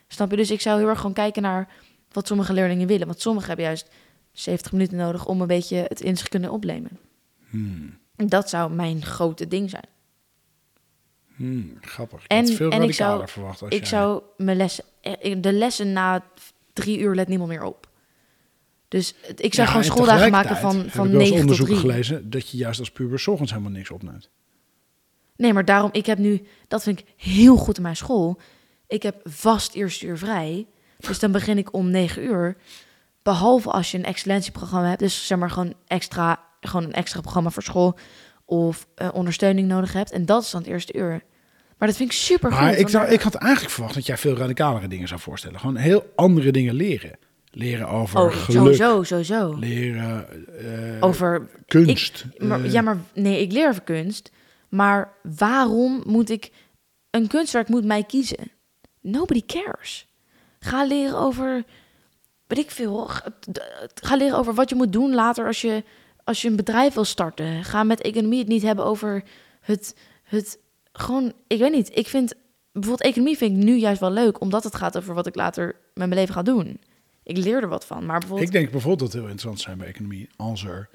Speaker 2: Snap je? Dus ik zou heel erg gewoon kijken naar wat sommige leerlingen willen. Want sommigen hebben juist 70 minuten nodig om een beetje het in zich te kunnen opnemen.
Speaker 1: Hmm.
Speaker 2: En Dat zou mijn grote ding zijn.
Speaker 1: Hmm, grappig. Ik
Speaker 2: En-
Speaker 1: had veel
Speaker 2: en ik zou-
Speaker 1: radicaler verwacht. Als
Speaker 2: ik
Speaker 1: jij-
Speaker 2: zou mijn lessen, eh, de lessen na drie uur let niemand meer op. Dus het- ik zou
Speaker 1: Ja,
Speaker 2: gewoon
Speaker 1: en
Speaker 2: schooldagen maken
Speaker 1: tegelijkertijd
Speaker 2: van, van
Speaker 1: heb ik wel eens
Speaker 2: 9 tot
Speaker 1: onderzoek
Speaker 2: 3.
Speaker 1: gelezen dat je juist als puber 's ochtends helemaal niks opneemt.
Speaker 2: Nee, maar daarom, ik heb nu, dat vind ik heel goed in mijn school. Ik heb vast eerste uur vrij. Dus dan begin ik om negen uur. Behalve als je een excellentieprogramma hebt. Dus zeg maar gewoon, extra, gewoon een extra programma voor school. Of eh, ondersteuning nodig hebt. En dat is dan het eerste uur. Maar dat vind ik super goed.
Speaker 1: Maar ik, zou, ik had eigenlijk verwacht dat jij veel radicalere dingen zou voorstellen. Gewoon heel andere dingen leren. Leren over
Speaker 2: Oh,
Speaker 1: geluk,
Speaker 2: sowieso, sowieso.
Speaker 1: leren eh,
Speaker 2: Over
Speaker 1: kunst.
Speaker 2: Maar,
Speaker 1: eh,
Speaker 2: ja, maar nee, ik leer over kunst. Maar waarom moet ik... Een kunstwerk moet mij kiezen. Nobody cares. Ga leren over... Weet ik veel. g- d- Ga leren over wat je moet doen later als je, als je een bedrijf wil starten. Ga met economie het niet hebben over het, het... Gewoon, ik weet niet. Ik vind... Bijvoorbeeld economie vind ik nu juist wel leuk. Omdat het gaat over wat ik later met mijn leven ga doen. Ik leer er wat van. Maar bijvoorbeeld...
Speaker 1: Ik denk bijvoorbeeld dat het heel interessant zou zijn bij economie als er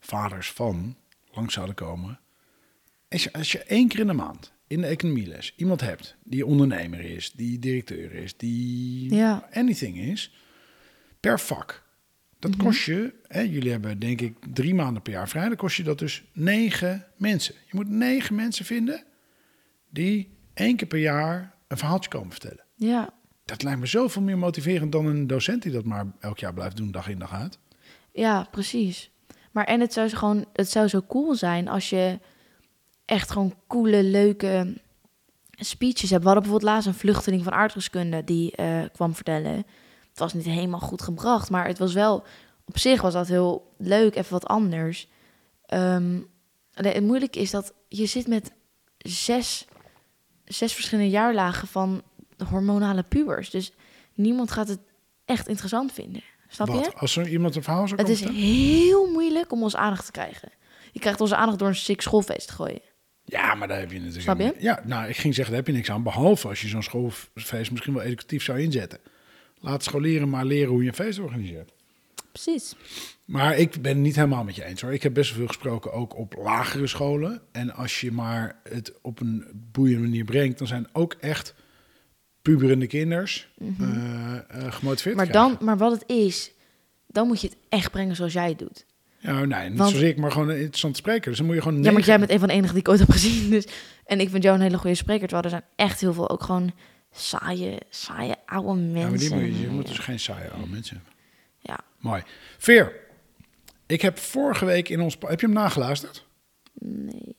Speaker 1: vaders van langs zouden komen. Als je, als je één keer in de maand in de economieles iemand hebt die ondernemer is, die directeur is, die
Speaker 2: Ja.
Speaker 1: anything is, per vak. Dat
Speaker 2: Mhm.
Speaker 1: kost je, hè, jullie hebben denk ik drie maanden per jaar vrij, dan kost je dat dus negen mensen. Je moet negen mensen vinden die één keer per jaar een verhaaltje komen vertellen.
Speaker 2: Ja.
Speaker 1: Dat lijkt me zoveel meer motiverend dan een docent die dat maar elk jaar blijft doen, dag in dag uit.
Speaker 2: Ja, precies. Maar en het zou zo gewoon, het zou zo cool zijn als je echt gewoon coole, leuke speeches hebt. We hadden bijvoorbeeld laatst een vluchteling van aardrijkskunde die eh, kwam vertellen. Het was niet helemaal goed gebracht, maar het was wel op zich was dat heel leuk, even wat anders. Ehm, alleen het moeilijke is dat je zit met zes, zes verschillende jaarlagen van hormonale pubers. Dus niemand gaat het echt interessant vinden. Snap je?
Speaker 1: Wat? Als er iemand een verhaal zou
Speaker 2: Het
Speaker 1: komen
Speaker 2: is
Speaker 1: vertellen?
Speaker 2: heel moeilijk om onze aandacht te krijgen. Je krijgt onze aandacht door een sick schoolfeest te gooien.
Speaker 1: Ja, maar daar heb je natuurlijk...
Speaker 2: Snap je?
Speaker 1: helemaal- Ja, nou, ik ging zeggen, daar heb je niks aan. Behalve als je zo'n schoolfeest misschien wel educatief zou inzetten. Laat scholieren maar leren hoe je een feest organiseert.
Speaker 2: Precies.
Speaker 1: Maar ik ben het niet helemaal met je eens hoor. Ik heb best veel gesproken ook op lagere scholen. En als je maar het op een boeiende manier brengt, dan zijn ook echt puberende kinders eh, eh, gemotiveerd. te
Speaker 2: Mhm. Maar, dan, maar wat het is, dan moet je het echt brengen zoals jij het doet.
Speaker 1: krijgen. Ja, oh, nee, niet
Speaker 2: Want-
Speaker 1: zozeer ik, maar gewoon een interessant spreker. Dus dan moet je gewoon...
Speaker 2: Ja, maar
Speaker 1: negen-
Speaker 2: jij bent een van de enigen die ik ooit heb gezien. Dus. En ik vind jou een hele goede spreker. Terwijl er zijn echt heel veel ook gewoon saaie, saaie oude
Speaker 1: Ja, maar die
Speaker 2: mensen.
Speaker 1: moet je, je moet dus geen saaie oude mensen hebben.
Speaker 2: Ja.
Speaker 1: Mooi. Veer, ik heb vorige week in ons... pa- Heb je hem nageluisterd?
Speaker 2: Nee.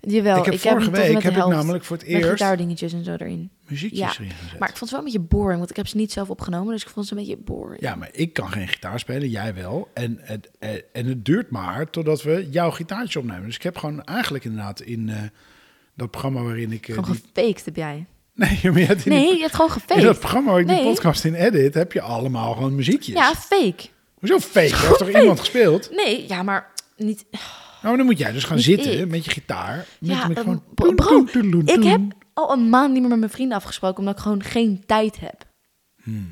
Speaker 2: Jawel,
Speaker 1: Ik
Speaker 2: ik
Speaker 1: heb
Speaker 2: heb,
Speaker 1: vorige
Speaker 2: hem tot en
Speaker 1: week
Speaker 2: met de
Speaker 1: heb ik
Speaker 2: helft
Speaker 1: namelijk voor het
Speaker 2: met
Speaker 1: eerst-
Speaker 2: gitaardingetjes en zo erin.
Speaker 1: Muziekjes
Speaker 2: Ja,
Speaker 1: erin gezet.
Speaker 2: Maar ik vond ze wel een beetje boring, want ik heb ze niet zelf opgenomen, dus ik vond ze een beetje boring.
Speaker 1: Ja, maar ik kan geen gitaar spelen, jij wel. En, het- en, en het duurt maar totdat we jouw gitaartje opnemen. Dus ik heb gewoon eigenlijk inderdaad in eh, dat programma waarin ik... eh,
Speaker 2: Gewoon
Speaker 1: die-
Speaker 2: gefaked heb jij.
Speaker 1: Nee, maar je hebt in, die-
Speaker 2: Nee, je hebt gewoon
Speaker 1: in dat
Speaker 2: gefaked.
Speaker 1: programma waar ik die
Speaker 2: Nee.
Speaker 1: podcast in edit, heb je allemaal gewoon muziekjes.
Speaker 2: Ja, fake.
Speaker 1: Hoezo fake? Er heeft toch
Speaker 2: fake.
Speaker 1: iemand gespeeld?
Speaker 2: Nee, ja, maar niet.
Speaker 1: Nou, maar dan moet jij dus gaan
Speaker 2: Niet
Speaker 1: zitten
Speaker 2: ik.
Speaker 1: met je gitaar. Met,
Speaker 2: Ja,
Speaker 1: met
Speaker 2: eh,
Speaker 1: gewoon...
Speaker 2: bro, bro,
Speaker 1: doen, doen,
Speaker 2: ik
Speaker 1: doen.
Speaker 2: heb al een maand niet meer met mijn vrienden afgesproken omdat ik gewoon geen tijd heb.
Speaker 1: Nou,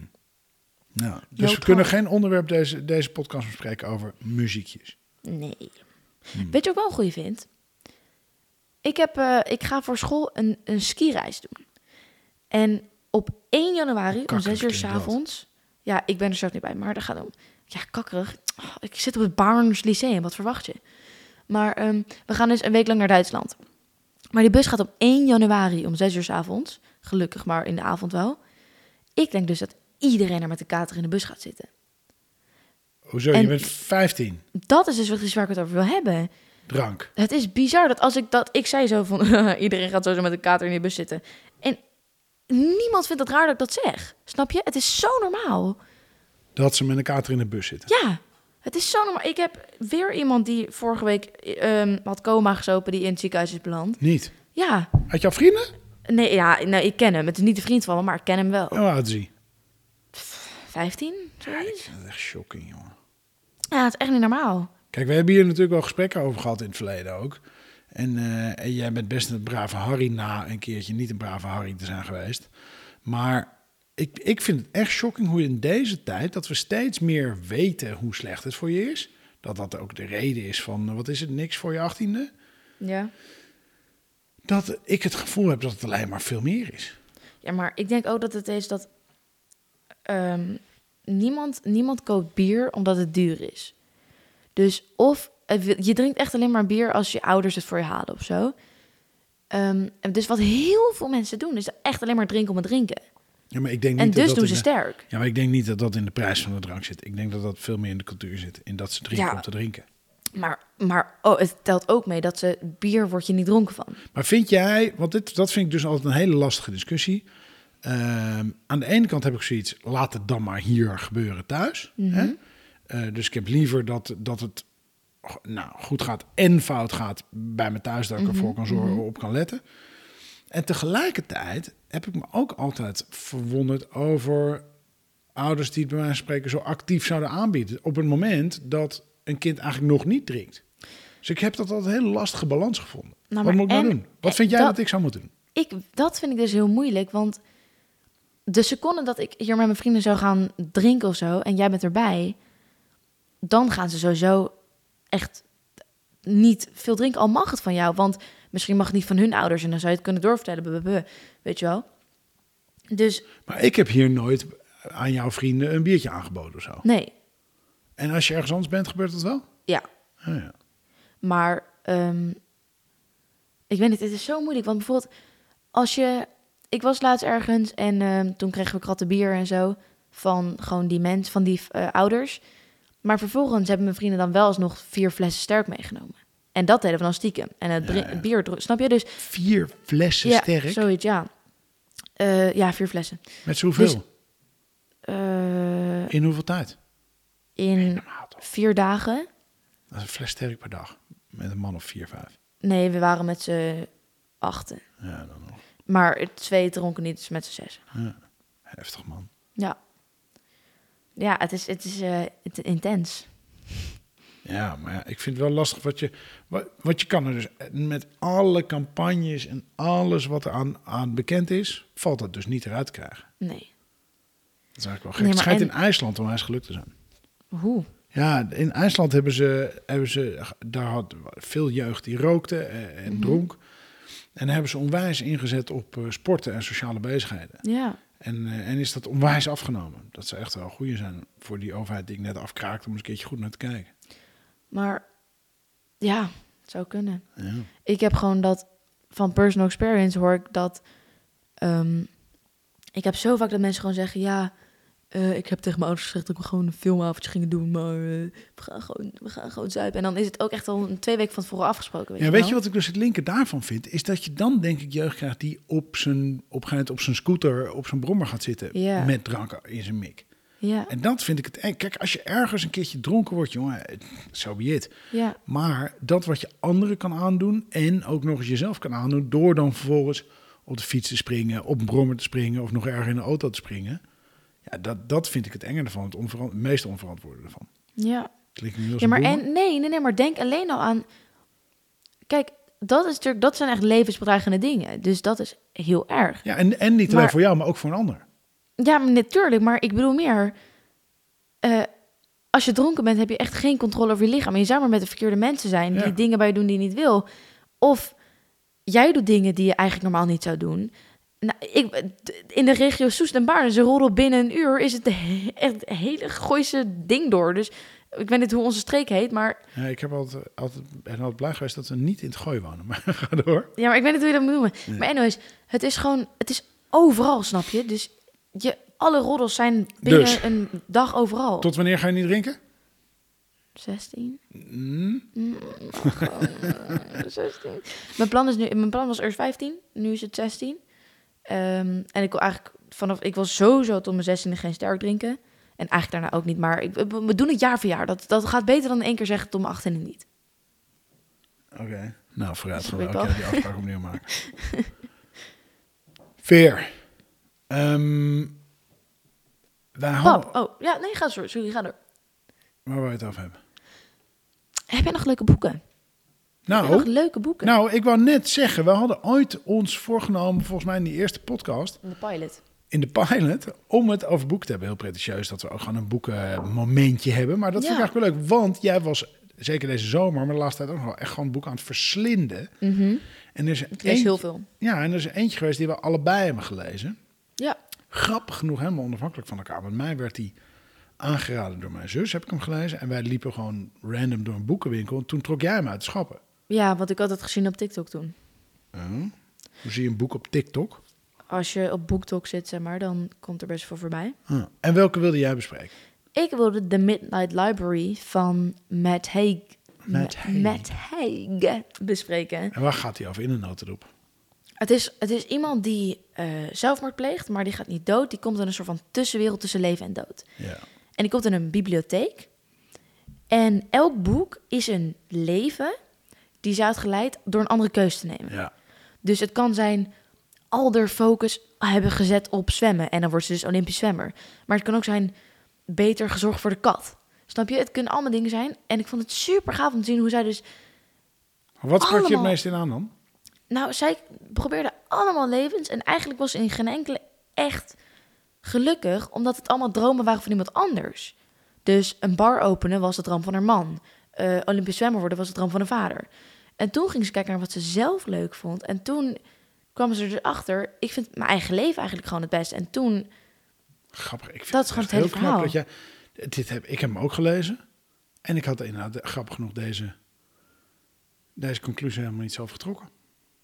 Speaker 1: dus we
Speaker 2: Joodhard.
Speaker 1: kunnen geen onderwerp deze, deze podcast bespreken over muziekjes.
Speaker 2: Nee.
Speaker 1: Hmm.
Speaker 2: Weet je wat ik wel een goeie vind? Ik, heb, eh, ik ga voor school een, een skireis doen. En op 1 januari om
Speaker 1: Kakkelijk
Speaker 2: 6 uur
Speaker 1: klinkt dat.
Speaker 2: s'avonds. Ja, ik ben er zelf niet bij, maar daar gaat het om. Ja, kakkerig. Oh, ik zit op het Barnes Lyceum, wat verwacht je? Maar ehm, we gaan dus een week lang naar Duitsland. Maar die bus gaat op 1 januari om 6 uur s'avonds. Gelukkig maar in de avond wel. Ik denk dus dat iedereen er met de kater in de bus gaat zitten.
Speaker 1: Hoezo? Je
Speaker 2: En-
Speaker 1: bent 15.
Speaker 2: Dat is dus precies waar ik het over wil hebben.
Speaker 1: Drank.
Speaker 2: Het is bizar dat als ik dat... Ik zei zo van, iedereen gaat sowieso met een kater in de bus zitten. En niemand vindt het raar dat ik dat zeg. Snap je? Het is zo normaal.
Speaker 1: Dat ze met een kater in de bus zitten.
Speaker 2: Ja, het is zo normaal. Ik heb weer iemand die vorige week ehm, had coma gezopen... die in het ziekenhuis is beland.
Speaker 1: Niet.
Speaker 2: Ja,
Speaker 1: Had jouw vrienden?
Speaker 2: nee, ja nee, ik ken hem. Het is niet de vriend van me, maar ik ken hem wel.
Speaker 1: Oh, had ze.
Speaker 2: 15, zoiets?
Speaker 1: Dat is echt shocking, jongen.
Speaker 2: Ja, het is echt niet normaal.
Speaker 1: Kijk, we hebben hier natuurlijk wel gesprekken over gehad in het verleden ook. En, eh, en jij bent best een brave Harry na een keertje niet een brave Harry te zijn geweest. Maar ik, ik vind het echt shocking hoe in deze tijd dat we steeds meer weten hoe slecht het voor je is. Dat dat ook de reden is van, eh, wat is het, niks voor je achttiende?
Speaker 2: Ja.
Speaker 1: Dat ik het gevoel heb dat het alleen maar veel meer is.
Speaker 2: ja, maar ik denk ook dat het is dat ehm, niemand, niemand koopt bier omdat het duur is. Dus of het wil- je drinkt echt alleen maar bier als je ouders het voor je halen of zo. Ehm, en dus wat heel veel mensen doen is echt alleen maar drinken om het drinken.
Speaker 1: Ja, maar ik denk niet
Speaker 2: En
Speaker 1: dat
Speaker 2: dus
Speaker 1: dat
Speaker 2: doen
Speaker 1: in
Speaker 2: ze
Speaker 1: de-
Speaker 2: sterk.
Speaker 1: Ja, maar ik denk niet dat dat in de prijs van de drank zit. Ik denk dat dat veel meer in de cultuur zit. In dat ze drinken
Speaker 2: Ja.
Speaker 1: om te drinken.
Speaker 2: Maar, maar oh, het telt ook mee dat ze bier word je niet dronken van.
Speaker 1: Maar vind jij, want dit, dat vind ik dus altijd een hele lastige discussie. Ehm, aan de ene kant heb ik zoiets, laat het dan maar hier gebeuren thuis. Hè? Eh, dus ik heb liever dat, dat het go- nou, goed gaat en fout gaat bij me thuis, dat ik ervoor kan zorgen, op kan letten. En tegelijkertijd heb ik me ook altijd verwonderd over ouders die het bij mij spreken zo actief zouden aanbieden. Op het moment dat een kind eigenlijk nog niet drinkt. Dus ik heb dat altijd een hele lastige balans gevonden.
Speaker 2: Nou,
Speaker 1: Wat
Speaker 2: maar
Speaker 1: moet ik nou
Speaker 2: en-
Speaker 1: doen? Wat
Speaker 2: en
Speaker 1: vind jij dat,
Speaker 2: dat-
Speaker 1: ik zou moeten doen?
Speaker 2: ik, dat vind ik dus heel moeilijk, want de seconde dat ik hier met mijn vrienden zou gaan drinken of zo, en jij bent erbij, dan gaan ze sowieso echt niet veel drinken, al mag het van jou, want misschien mag het niet van hun ouders en dan zou je het kunnen doorvertellen, buh, buh, buh, weet je wel. Dus
Speaker 1: Maar ik heb hier nooit aan jouw vrienden een biertje aangeboden of zo.
Speaker 2: nee,
Speaker 1: En als je ergens anders bent, gebeurt dat wel?
Speaker 2: ja,
Speaker 1: Oh, ja.
Speaker 2: Maar ehm, ik weet niet, het is zo moeilijk. Want bijvoorbeeld, als je. Ik was laatst ergens en ehm, toen kregen we kratten bier en zo. Van gewoon die mens, van die eh, ouders. Maar vervolgens hebben mijn vrienden dan wel alsnog vier flessen sterk meegenomen. En dat deden we dan stiekem. En het drin-
Speaker 1: Ja, ja.
Speaker 2: bier, dro- snap je? Dus
Speaker 1: Vier flessen
Speaker 2: ja,
Speaker 1: sterk.
Speaker 2: zoiets, ja. Eh, ja, vier flessen.
Speaker 1: Met zoveel?
Speaker 2: Dus- Eh,
Speaker 1: In hoeveel tijd?
Speaker 2: in
Speaker 1: Normaal toch?
Speaker 2: vier dagen.
Speaker 1: Dat is een fles sterk per dag. Met een man of vier, vijf.
Speaker 2: Nee, we waren met z'n achten.
Speaker 1: Ja, dan nog.
Speaker 2: Maar twee dronken niet, dus met z'n zes.
Speaker 1: Heftig man.
Speaker 2: Ja. Ja, het is, het is eh, het- intens.
Speaker 1: Ja, maar ja, ik vind het wel lastig wat je... Wat, wat je kan er dus... Met alle campagnes en alles wat er aan, aan bekend is... valt dat dus niet eruit te krijgen.
Speaker 2: Nee.
Speaker 1: Dat is eigenlijk wel gek.
Speaker 2: Nee,
Speaker 1: het
Speaker 2: maar
Speaker 1: schijnt
Speaker 2: en-
Speaker 1: in IJsland om eens gelukt te zijn.
Speaker 2: Hoe?
Speaker 1: Ja, in IJsland hebben ze, hebben ze daar had veel jeugd die rookte eh,
Speaker 2: Mhm.
Speaker 1: en dronk. En daar hebben ze onwijs ingezet op eh, sporten en sociale bezigheden.
Speaker 2: Ja.
Speaker 1: En, eh, en is dat onwijs afgenomen. Dat ze echt wel goeie zijn voor die overheid die ik net afkraakte om eens een keertje goed naar te kijken.
Speaker 2: Maar ja, het zou kunnen.
Speaker 1: Ja.
Speaker 2: Ik heb gewoon dat van personal experience hoor ik dat. ehm, ik heb zo vaak dat mensen gewoon zeggen: Ja, eh, ik heb tegen mijn ouders gezegd dat we gewoon een filmavondje gingen doen, maar eh, we, gaan gewoon, we gaan gewoon zuipen. En dan is het ook echt al een twee weken van tevoren afgesproken. Weet
Speaker 1: Ja,
Speaker 2: je,
Speaker 1: weet
Speaker 2: wel?
Speaker 1: je wat ik dus het linker daarvan vind? Is dat je dan denk ik jeugd krijgt die op zijn, op een gegeven moment op zijn scooter, op zijn brommer gaat zitten.
Speaker 2: Ja.
Speaker 1: Met drank in zijn mik.
Speaker 2: Ja,
Speaker 1: En dat vind ik het eng. Kijk, als je ergens een keertje dronken wordt, jongen, eh, so be it.
Speaker 2: ja,
Speaker 1: Maar dat wat je anderen kan aandoen en ook nog eens jezelf kan aandoen... door dan vervolgens op de fiets te springen, op een brommer te springen... of nog erger in de auto te springen. Ja, dat, dat vind ik het enge ervan, het, onveran- het meest onverantwoorde ervan.
Speaker 2: ja.
Speaker 1: Klinkt nu als
Speaker 2: Ja, maar
Speaker 1: een
Speaker 2: en,
Speaker 1: en...
Speaker 2: nee, nee, nee, maar denk alleen al aan. Kijk, dat, is natuurlijk, dat zijn echt levensbedreigende dingen. Dus dat is heel erg.
Speaker 1: Ja, en, en niet alleen
Speaker 2: Maar-
Speaker 1: voor jou, maar ook voor een ander.
Speaker 2: Ja, maar natuurlijk, maar ik bedoel meer. eh, als je dronken bent, heb je echt geen controle over je lichaam. En je zou maar met de verkeerde mensen zijn die
Speaker 1: Ja.
Speaker 2: dingen bij je doen die je niet wil. Of jij doet dingen die je eigenlijk normaal niet zou doen. Nou, ik, in de regio Soest en Baarn, ze rollen binnen een uur, is het he- echt een hele gooise ding door. Dus ik weet niet hoe onze streek heet, maar
Speaker 1: Ja, ik heb altijd, altijd, ben altijd blij geweest dat we niet in het gooi wonen. Maar ga door.
Speaker 2: Ja, maar ik weet niet hoe je dat moet noemen. Maar anyways, het is gewoon... Het is overal, snap je? Dus je, alle roddels zijn binnen
Speaker 1: Dus.
Speaker 2: een dag overal.
Speaker 1: Tot wanneer ga je niet drinken?
Speaker 2: 16?
Speaker 1: Mm,
Speaker 2: Eh, 16. Mijn plan, is nu, mijn plan was eerst 15. Nu is het 16. Ehm, en ik wil eigenlijk vanaf... Ik wil sowieso tot mijn 16e geen sterk drinken. En eigenlijk daarna ook niet. Maar ik, we we doen het jaar voor jaar. Dat, dat gaat beter dan in één keer zeggen tot mijn 18e niet.
Speaker 1: Oké. Nou, vooruit gaan we elke
Speaker 2: Sorry, Paul.
Speaker 1: keer die afspraak opnieuw maken. Veer. Ehm wij hadden-
Speaker 2: Pap, oh ja, nee, ga door. Sorry, ga door.
Speaker 1: Waar wil je het over hebben?
Speaker 2: Heb jij nog leuke boeken? Heb jij nog
Speaker 1: Nou,
Speaker 2: leuke boeken?
Speaker 1: nou, ik wou net zeggen, we hadden ooit ons voorgenomen, volgens mij in die eerste podcast,
Speaker 2: De pilot.
Speaker 1: in de pilot om het over boek te hebben. Heel pretentieus dat we ook gewoon een boekenmomentje hebben. Maar dat vind ik
Speaker 2: Ja.
Speaker 1: eigenlijk wel leuk, want jij was zeker deze zomer, maar de laatste tijd ook nog wel echt gewoon een boek aan het verslinden.
Speaker 2: Mhm.
Speaker 1: En er is, er
Speaker 2: Mm. Lees
Speaker 1: eentje-
Speaker 2: heel veel.
Speaker 1: Ja, en er is er eentje geweest die we allebei hebben gelezen.
Speaker 2: Ja.
Speaker 1: Grappig genoeg helemaal onafhankelijk van elkaar. Want mij werd die aangeraden door mijn zus, heb ik hem gelezen. En wij liepen gewoon random door een boekenwinkel. En toen trok jij hem uit de schappen.
Speaker 2: ja, want ik had het gezien op TikTok toen.
Speaker 1: Huh? Hoe zie je een boek op TikTok?
Speaker 2: Als je op BookTok zit, zeg maar, dan komt er best veel voorbij.
Speaker 1: Huh. En welke wilde jij bespreken?
Speaker 2: Ik wilde The Midnight Library van Matt Haig...
Speaker 1: Matt
Speaker 2: Ma-
Speaker 1: Haig.
Speaker 2: Matt Haig bespreken.
Speaker 1: En waar gaat hij over in de notendop?
Speaker 2: Het is, het is iemand die eh, zelfmoord pleegt, maar die gaat niet dood. Die komt in een soort van tussenwereld tussen leven en dood.
Speaker 1: Ja.
Speaker 2: En die komt in een bibliotheek. En elk boek is een leven die zij had geleid door een andere keuze te nemen.
Speaker 1: ja.
Speaker 2: Dus het kan zijn al haar focus hebben gezet op zwemmen. En dan wordt ze dus Olympisch zwemmer. Maar het kan ook zijn beter gezorgd voor de kat. Snap je? Het kunnen allemaal dingen zijn. En ik vond het super gaaf om te zien hoe zij dus...
Speaker 1: Wat sprak je het
Speaker 2: Allemaal.
Speaker 1: meest in aan dan?
Speaker 2: Nou, zij probeerde allemaal levens. En eigenlijk was ze in geen enkele echt gelukkig. Omdat het allemaal dromen waren van iemand anders. Dus een bar openen was de droom van haar man. Eh, Olympisch zwemmer worden was de droom van haar vader. En toen ging ze kijken naar wat ze zelf leuk vond. En toen kwam ze erachter... Ik vind mijn eigen leven eigenlijk gewoon het best. En toen...
Speaker 1: Grappig. Ik vind
Speaker 2: Dat is gewoon
Speaker 1: echt
Speaker 2: het hele
Speaker 1: heel knap
Speaker 2: verhaal.
Speaker 1: dat jij, dit heb, ik heb hem ook gelezen. En ik had inderdaad eh, grappig genoeg deze, deze conclusie helemaal niet zelf getrokken.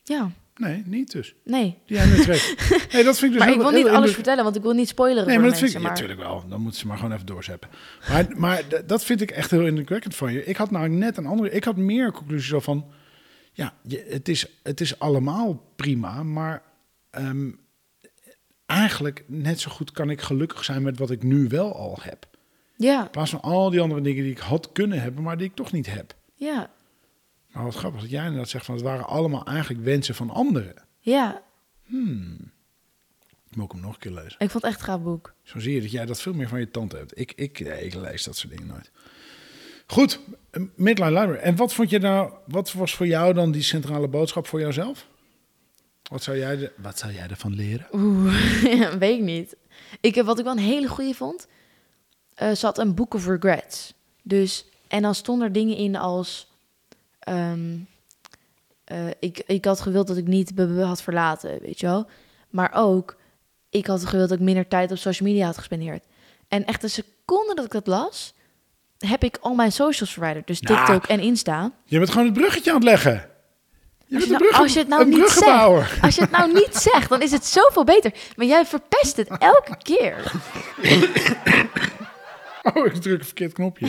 Speaker 2: Ja,
Speaker 1: Nee, niet dus.
Speaker 2: nee.
Speaker 1: Die jij nu trekt. Nee, dat vind ik dus
Speaker 2: Maar
Speaker 1: heel-
Speaker 2: ik wil
Speaker 1: heel
Speaker 2: niet alles
Speaker 1: indruk-
Speaker 2: vertellen, want ik wil niet spoileren
Speaker 1: Nee,
Speaker 2: voor
Speaker 1: maar
Speaker 2: de
Speaker 1: dat vind ik
Speaker 2: mensen. maar-
Speaker 1: natuurlijk wel. Dan moeten ze maar gewoon even doorzetten. Maar, maar d- dat vind ik echt heel indrukwekkend van je. Ik had nou net een andere. Ik had meer conclusies zo van. Ja, je- het is, het is allemaal prima, maar ehm, eigenlijk net zo goed kan ik gelukkig zijn met wat ik nu wel al heb.
Speaker 2: Ja,
Speaker 1: In plaats van al die andere dingen die ik had kunnen hebben, maar die ik toch niet heb.
Speaker 2: ja,
Speaker 1: Maar wat grappig dat jij inderdaad zegt van het waren allemaal eigenlijk wensen van anderen.
Speaker 2: ja.
Speaker 1: Moet ik hem nog een keer lezen?
Speaker 2: Ik vond het echt een gaaf boek.
Speaker 1: Zo zie je dat jij dat veel meer van je tante hebt. Ik, ik, nee, ik lees dat soort dingen nooit. Goed, eh, Midline Library. En wat vond je nou, wat was voor jou dan die centrale boodschap voor jouzelf? Wat zou jij, de, wat zou jij ervan leren?
Speaker 2: Oeh, weet ik niet. Ik, heb- wat ik wel een hele goede vond, eh ze had een boek of regrets. Dus, en dan stonden er dingen in als... ehm, eh, ik, ik had gewild dat ik niet BBB had verlaten, weet je wel. Maar ook, ik had gewild dat ik minder tijd op social media had gespendeerd. En echt een seconde dat ik dat las, heb ik al mijn socials verwijderd. Dus
Speaker 1: Nou.
Speaker 2: TikTok en Insta.
Speaker 1: Je bent gewoon het bruggetje aan het leggen. Je bent
Speaker 2: Als
Speaker 1: een,
Speaker 2: je, nou,
Speaker 1: bruggen,
Speaker 2: als je het nou
Speaker 1: een
Speaker 2: niet
Speaker 1: bruggenbouwer.
Speaker 2: zegt, als je het nou niet zegt, dan is het zoveel beter. Maar jij verpest het elke keer.
Speaker 1: Oh, ik druk een verkeerd knopje.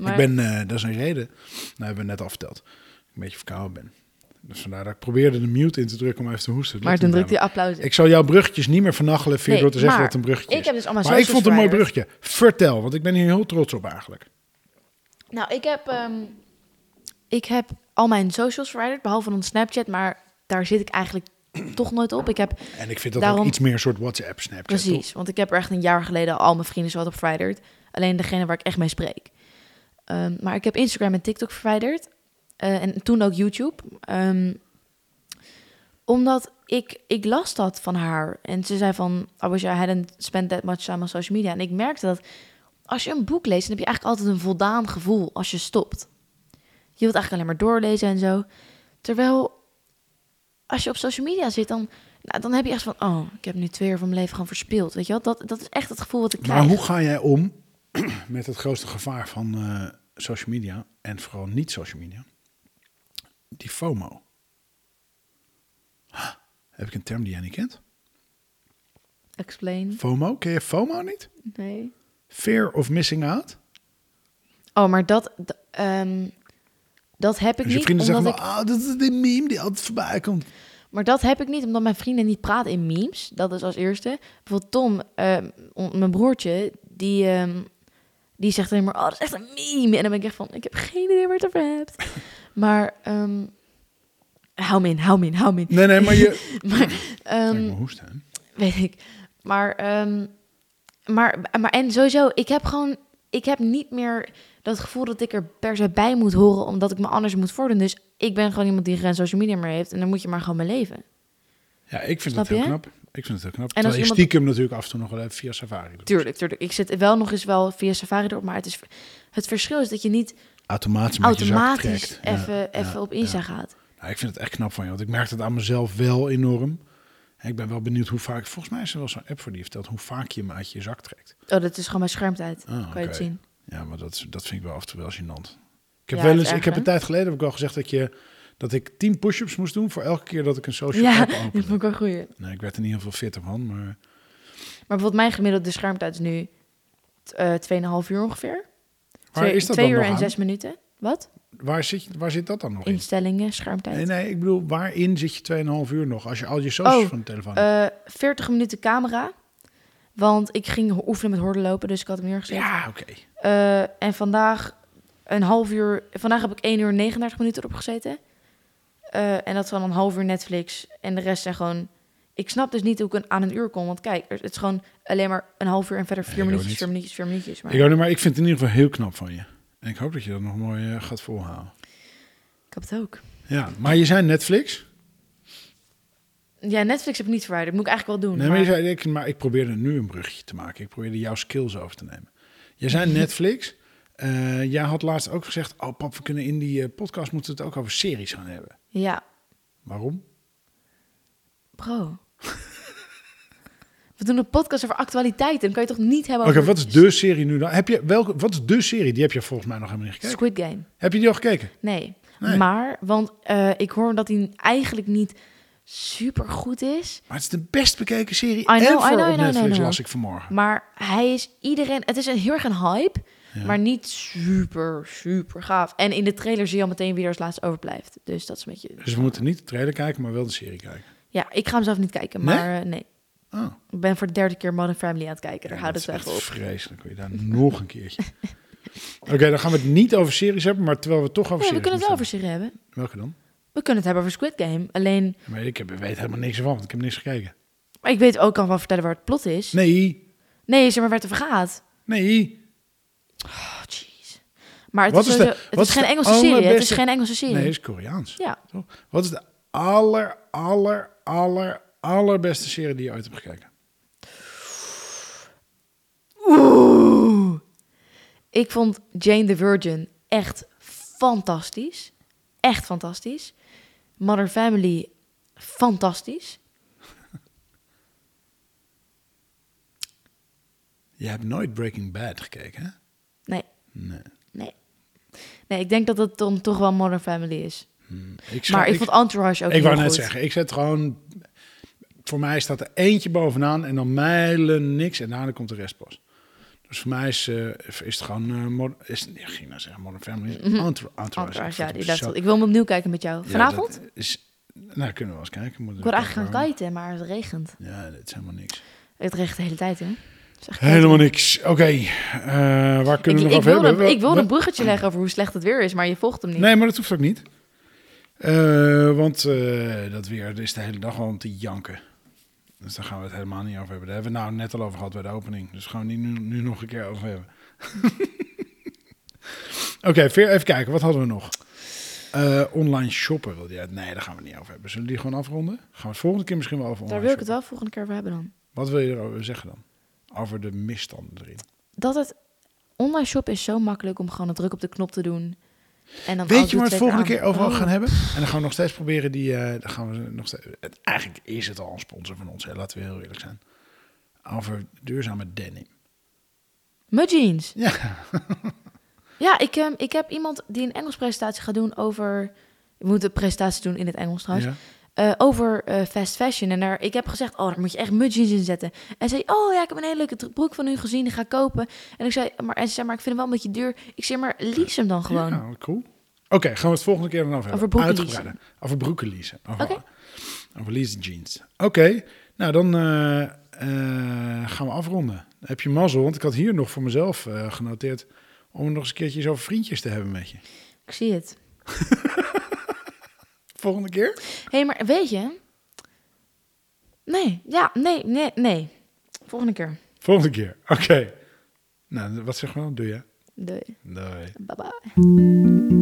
Speaker 2: Maar,
Speaker 1: Ik ben, eh, dat is een reden, nou hebben we net al verteld, dat ik een beetje verkouden ben. Dus vandaar dat ik probeerde de mute in te drukken om even te hoesten. Dat
Speaker 2: maar
Speaker 1: lukt
Speaker 2: toen
Speaker 1: me
Speaker 2: drukte je
Speaker 1: namelijk.
Speaker 2: applaus. in.
Speaker 1: Ik zal jouw bruggetjes niet meer vernachelen via
Speaker 2: Nee,
Speaker 1: door te zeggen
Speaker 2: maar
Speaker 1: dat het een bruggetje
Speaker 2: ik
Speaker 1: is.
Speaker 2: heb dus allemaal
Speaker 1: maar ik vond
Speaker 2: socials
Speaker 1: het een mooi
Speaker 2: verwijderd.
Speaker 1: bruggetje. Vertel, want ik ben hier heel trots op eigenlijk.
Speaker 2: Nou, ik heb, ehm, ik heb al mijn socials verwijderd, behalve dan Snapchat. Maar daar zit ik eigenlijk toch nooit op. Ik heb
Speaker 1: En ik vind dat ook
Speaker 2: Daarom-
Speaker 1: iets meer een soort WhatsApp Snapchat. toch?
Speaker 2: Precies, want ik heb er echt een jaar geleden al mijn vrienden zo wat op verwijderd. Alleen degene waar ik echt mee spreek. Ehm, maar ik heb Instagram en TikTok verwijderd. Eh, en toen ook YouTube. Ehm, omdat ik, ik las dat van haar. En ze zei van, I wish I hadn't spent that much time on social media. En ik merkte dat als je een boek leest, dan heb je eigenlijk altijd een voldaan gevoel als je stopt. Je wilt eigenlijk alleen maar doorlezen en zo. Terwijl als je op social media zit, dan, nou, dan heb je echt van... oh, ik heb nu twee uur van mijn leven gewoon verspild. Weet je wel? Dat, dat is echt het gevoel wat ik
Speaker 1: Maar
Speaker 2: krijg.
Speaker 1: hoe ga jij om met het grootste gevaar van eh, social media en vooral niet social media? Die FOMO. Huh, Heb ik een term die jij niet kent?
Speaker 2: Explain.
Speaker 1: FOMO? Ken je FOMO niet?
Speaker 2: Nee.
Speaker 1: Fear of missing out?
Speaker 2: Oh, maar dat... d- ehm, dat heb ik
Speaker 1: Dus je
Speaker 2: niet,
Speaker 1: vrienden zeggen
Speaker 2: omdat
Speaker 1: wel,
Speaker 2: ik,
Speaker 1: "Ah, dat is die meme die altijd voorbij komt.
Speaker 2: maar dat heb ik niet omdat mijn vrienden niet praten in memes. Dat is als eerste. Bijvoorbeeld Tom, ehm, on- mijn broertje, die, ehm, die zegt alleen maar... oh, dat is echt een meme. En dan ben ik echt van, ik heb geen idee waar je het over hebt. maar ehm, hou me in, hou me in, hou me in.
Speaker 1: Nee, nee, maar je...
Speaker 2: Maar,
Speaker 1: Kijk,
Speaker 2: ehm,
Speaker 1: mijn hoesten, hè?
Speaker 2: weet ik. Maar, ehm, maar, maar en sowieso, ik heb gewoon, ik heb niet meer dat gevoel dat ik er per se bij moet horen, omdat ik me anders moet voordoen. Dus ik ben gewoon iemand die geen social media meer heeft en dan moet je maar gewoon mijn leven.
Speaker 1: Ja, ik vind
Speaker 2: Snap
Speaker 1: het heel
Speaker 2: je?
Speaker 1: knap. Ik vind het heel knap.
Speaker 2: als
Speaker 1: En als je
Speaker 2: iemand-
Speaker 1: stiekem natuurlijk af en toe nog wel even via Safari doet.
Speaker 2: Tuurlijk, tuurlijk. Ik zit wel nog eens wel via Safari erop, maar het, is, het verschil is dat je niet
Speaker 1: Automatisch met je zak
Speaker 2: automatisch
Speaker 1: trekt. Ja,
Speaker 2: even,
Speaker 1: ja,
Speaker 2: even op
Speaker 1: ja.
Speaker 2: Insta gaat.
Speaker 1: Nou, ik vind het echt knap van je, want ik merk het aan mezelf wel enorm. En ik ben wel benieuwd hoe vaak... Volgens mij is er wel zo'n app voor die vertelt hoe vaak je hem uit je zak trekt.
Speaker 2: Oh, dat is gewoon mijn schermtijd.
Speaker 1: Ah,
Speaker 2: kan je
Speaker 1: oké.
Speaker 2: het zien.
Speaker 1: Ja, maar dat, is- dat vind ik wel af en toe wel gênant. Ik heb wel
Speaker 2: Ja, het is
Speaker 1: eens,
Speaker 2: erg,
Speaker 1: ik heb
Speaker 2: hè?
Speaker 1: een tijd geleden heb ik al gezegd dat, je, dat ik 10 push-ups moest doen voor elke keer dat ik een social
Speaker 2: Ja,
Speaker 1: app
Speaker 2: dat
Speaker 1: opende.
Speaker 2: vond ik wel goeie.
Speaker 1: Nee, ik werd er niet heel veel fitter van, maar
Speaker 2: Maar bijvoorbeeld mijn gemiddelde schermtijd is nu t- eh 2,5 uur ongeveer.
Speaker 1: waar
Speaker 2: twee
Speaker 1: is dat
Speaker 2: twee
Speaker 1: dan
Speaker 2: uur
Speaker 1: nog
Speaker 2: en
Speaker 1: aan?
Speaker 2: zes minuten. Wat?
Speaker 1: Waar, zit, je- waar zit dat dan nog in?
Speaker 2: Instellingen, schermtijd.
Speaker 1: Nee, nee, ik bedoel, waarin zit je 2,5 uur nog als je al je socials
Speaker 2: Oh,
Speaker 1: van de telefoon hebt?
Speaker 2: Eh, 40 minuten camera. Want ik ging ho- oefenen met horden lopen, dus ik had hem neergezet.
Speaker 1: ja, oké.
Speaker 2: Eh, en vandaag een half uur. Vandaag heb ik 1 uur 39 minuten erop gezeten. Eh, en dat is dan een half uur Netflix. En de rest zijn gewoon. Ik snap dus niet hoe ik een- aan een uur kom. Want kijk, er- het is gewoon alleen maar een half uur en verder
Speaker 1: ik
Speaker 2: vier
Speaker 1: ook
Speaker 2: minuutjes,
Speaker 1: niet.
Speaker 2: vier minuutjes, vier minuutjes. Maar
Speaker 1: Ik ook niet, maar ik vind het in ieder geval heel knap van je. En ik hoop dat je dat nog mooi eh, gaat volhouden.
Speaker 2: ik heb het ook.
Speaker 1: Ja, maar je zei Netflix.
Speaker 2: Ja, Netflix heb ik niet verwijderd. Moet ik eigenlijk wel doen.
Speaker 1: Nee, maar, je
Speaker 2: maar-
Speaker 1: zei, ik, maar ik probeerde nu een brugje te maken. Ik probeerde jouw skills over te nemen. Je zei Netflix. Eh, jij had laatst ook gezegd, oh pap, we kunnen in die eh, podcast moeten we het ook over series gaan hebben.
Speaker 2: Ja,
Speaker 1: Waarom?
Speaker 2: bro. We doen een podcast over actualiteiten. Dan kan je toch niet hebben
Speaker 1: Oké,
Speaker 2: over
Speaker 1: wat is de serie nu dan? Heb je, welke, wat is de serie? Die heb je volgens mij nog helemaal niet gekeken.
Speaker 2: Squid Game?
Speaker 1: Heb je die al gekeken?
Speaker 2: Nee.
Speaker 1: Nee.
Speaker 2: Maar, want eh, ik hoor dat hij eigenlijk niet super goed is.
Speaker 1: Maar het is de best bekeken serie
Speaker 2: know, I
Speaker 1: ever
Speaker 2: know, I
Speaker 1: op
Speaker 2: know, I know,
Speaker 1: Netflix,
Speaker 2: I know.
Speaker 1: las ik vanmorgen.
Speaker 2: Maar hij is iedereen... Het is een, heel erg een hype,
Speaker 1: Ja.
Speaker 2: maar niet super, super gaaf. En in de trailer zie je al meteen wie er als laatste overblijft. Dus dat is een beetje...
Speaker 1: Dus we moeten niet de trailer kijken, maar wel de serie kijken.
Speaker 2: Ja, ik ga hem zelf niet kijken,
Speaker 1: Nee?
Speaker 2: maar eh, nee.
Speaker 1: Oh.
Speaker 2: Ik ben voor de derde keer Modern Family aan het kijken. Daar
Speaker 1: Ja,
Speaker 2: houdt
Speaker 1: dat
Speaker 2: het wel
Speaker 1: is
Speaker 2: even
Speaker 1: echt
Speaker 2: op.
Speaker 1: Vreselijk, wil je daar nog een keertje. Oké, dan gaan we het niet over series hebben, maar terwijl we het toch over
Speaker 2: Nee, we
Speaker 1: series
Speaker 2: kunnen het wel over
Speaker 1: moeten
Speaker 2: zich hebben.
Speaker 1: hebben. Welke dan?
Speaker 2: We kunnen het hebben over Squid Game. Alleen,
Speaker 1: Ja, Maar ik heb, weet helemaal niks van, want ik heb niks gekeken.
Speaker 2: maar ik weet ook al wel vertellen waar het plot is. Nee,
Speaker 1: Nee,
Speaker 2: zeg maar waar het over gaat.
Speaker 1: nee.
Speaker 2: Oh, jeez. Maar het
Speaker 1: Wat
Speaker 2: is,
Speaker 1: is de-
Speaker 2: sowieso- het
Speaker 1: wat
Speaker 2: is
Speaker 1: is
Speaker 2: geen
Speaker 1: de
Speaker 2: Engelse serie. Het is
Speaker 1: allerbeste-
Speaker 2: geen Engelse serie.
Speaker 1: Nee, is Koreaans.
Speaker 2: Ja,
Speaker 1: Toch? Wat is de aller, aller, aller, allerbeste serie die je ooit hebt gekeken?
Speaker 2: Oeh. Ik vond Jane the Virgin echt fantastisch. Echt fantastisch. Modern Family, fantastisch.
Speaker 1: Je hebt nooit Breaking Bad gekeken, hè?
Speaker 2: Nee,
Speaker 1: Nee.
Speaker 2: nee. Nee, ik denk dat het dan toch wel Modern Family is.
Speaker 1: Hm, Ik
Speaker 2: maar ik,
Speaker 1: ik-
Speaker 2: vond Entourage ook
Speaker 1: ik
Speaker 2: heel
Speaker 1: wou net
Speaker 2: goed.
Speaker 1: zeggen, ik zet gewoon... Voor mij staat er eentje bovenaan en dan mijlen niks en daarna komt de rest pas. Dus voor mij is, eh, is het gewoon... eh, Mod- is, ik ging nou zeggen, Modern Family is Entour- Entourage. Ik
Speaker 2: Mhm. Entourage,
Speaker 1: vind
Speaker 2: ja, die
Speaker 1: hem
Speaker 2: laatste.
Speaker 1: zo-
Speaker 2: Ik wil hem opnieuw kijken met jou.
Speaker 1: Ja,
Speaker 2: Vanavond?
Speaker 1: dat is, nou, kunnen we wel eens kijken. Moeten
Speaker 2: ik
Speaker 1: we
Speaker 2: wil eigenlijk
Speaker 1: kijken
Speaker 2: gaan kiten, maar het regent.
Speaker 1: waarom. Ja, dit is helemaal niks.
Speaker 2: Het regent de hele tijd, hè? Het is echt
Speaker 1: Helemaal niks. Oké, eh, waar
Speaker 2: Ik,
Speaker 1: kunnen we
Speaker 2: ik,
Speaker 1: nog over
Speaker 2: wilde,
Speaker 1: hebben?
Speaker 2: ik wilde
Speaker 1: Wat-
Speaker 2: een bruggetje leggen over hoe slecht het weer is, maar je volgt hem niet.
Speaker 1: Nee, maar dat hoeft ook niet. Eh, want eh, dat weer er is de hele dag al om te janken. Dus daar gaan we het helemaal niet over hebben. Daar hebben we het nou net al over gehad bij de opening. Dus gaan we het niet nu, nu nog een keer over hebben. Oké, Veer, even kijken. Wat hadden we nog? Eh, online shoppen wilde jij? Nee, daar gaan we het niet over hebben. Zullen we die gewoon afronden? Gaan we het volgende keer misschien wel over online
Speaker 2: Daar wil ik het
Speaker 1: shoppen.
Speaker 2: wel volgende keer over hebben dan.
Speaker 1: Wat wil je erover zeggen dan? Over de misstanden erin.
Speaker 2: dat het online shoppen is zo makkelijk om gewoon een druk op de knop te doen. En dan
Speaker 1: Weet
Speaker 2: alles
Speaker 1: je waar we het
Speaker 2: doet twee
Speaker 1: volgende
Speaker 2: aan.
Speaker 1: keer overal
Speaker 2: Oh.
Speaker 1: gaan hebben? En dan gaan we nog steeds proberen die. eh, dan gaan we nog steeds, het- eigenlijk is het al een sponsor van ons, hè, laten we heel eerlijk zijn. Over duurzame denim.
Speaker 2: Mijn jeans.
Speaker 1: Ja,
Speaker 2: Ja, ik, ehm, ik heb iemand die een Engels presentatie gaat doen over... We moeten een presentatie doen in het Engels trouwens.
Speaker 1: ja.
Speaker 2: eh, over eh, fast fashion. En daar, ik heb gezegd, oh, daar moet je echt mijn jeans in zetten. En zei, oh ja, ik heb een hele leuke dr- broek van u gezien, die ga ik kopen. En ik zei, maar, en ze zei, maar ik vind hem wel een beetje duur. Ik zei, maar lease hem dan gewoon.
Speaker 1: Ja, cool. Oké, gaan we het volgende keer dan over hebben.
Speaker 2: Over broeken
Speaker 1: Uitgebreider. Over broeken leasen. Over,
Speaker 2: Oké.
Speaker 1: over lease jeans. Oké, nou dan eh, eh, gaan we afronden. Dan heb je mazzel, want ik had hier nog voor mezelf eh, genoteerd... om nog eens een keertje zo vriendjes te hebben met je.
Speaker 2: Ik zie het.
Speaker 1: Volgende keer?
Speaker 2: Hé, hey, maar weet je... Nee, ja, nee, nee, nee. Volgende keer.
Speaker 1: Volgende keer, oké. Nou, wat zeg je dan? Doe je?
Speaker 2: Doei.
Speaker 1: Doei.
Speaker 2: Bye bye.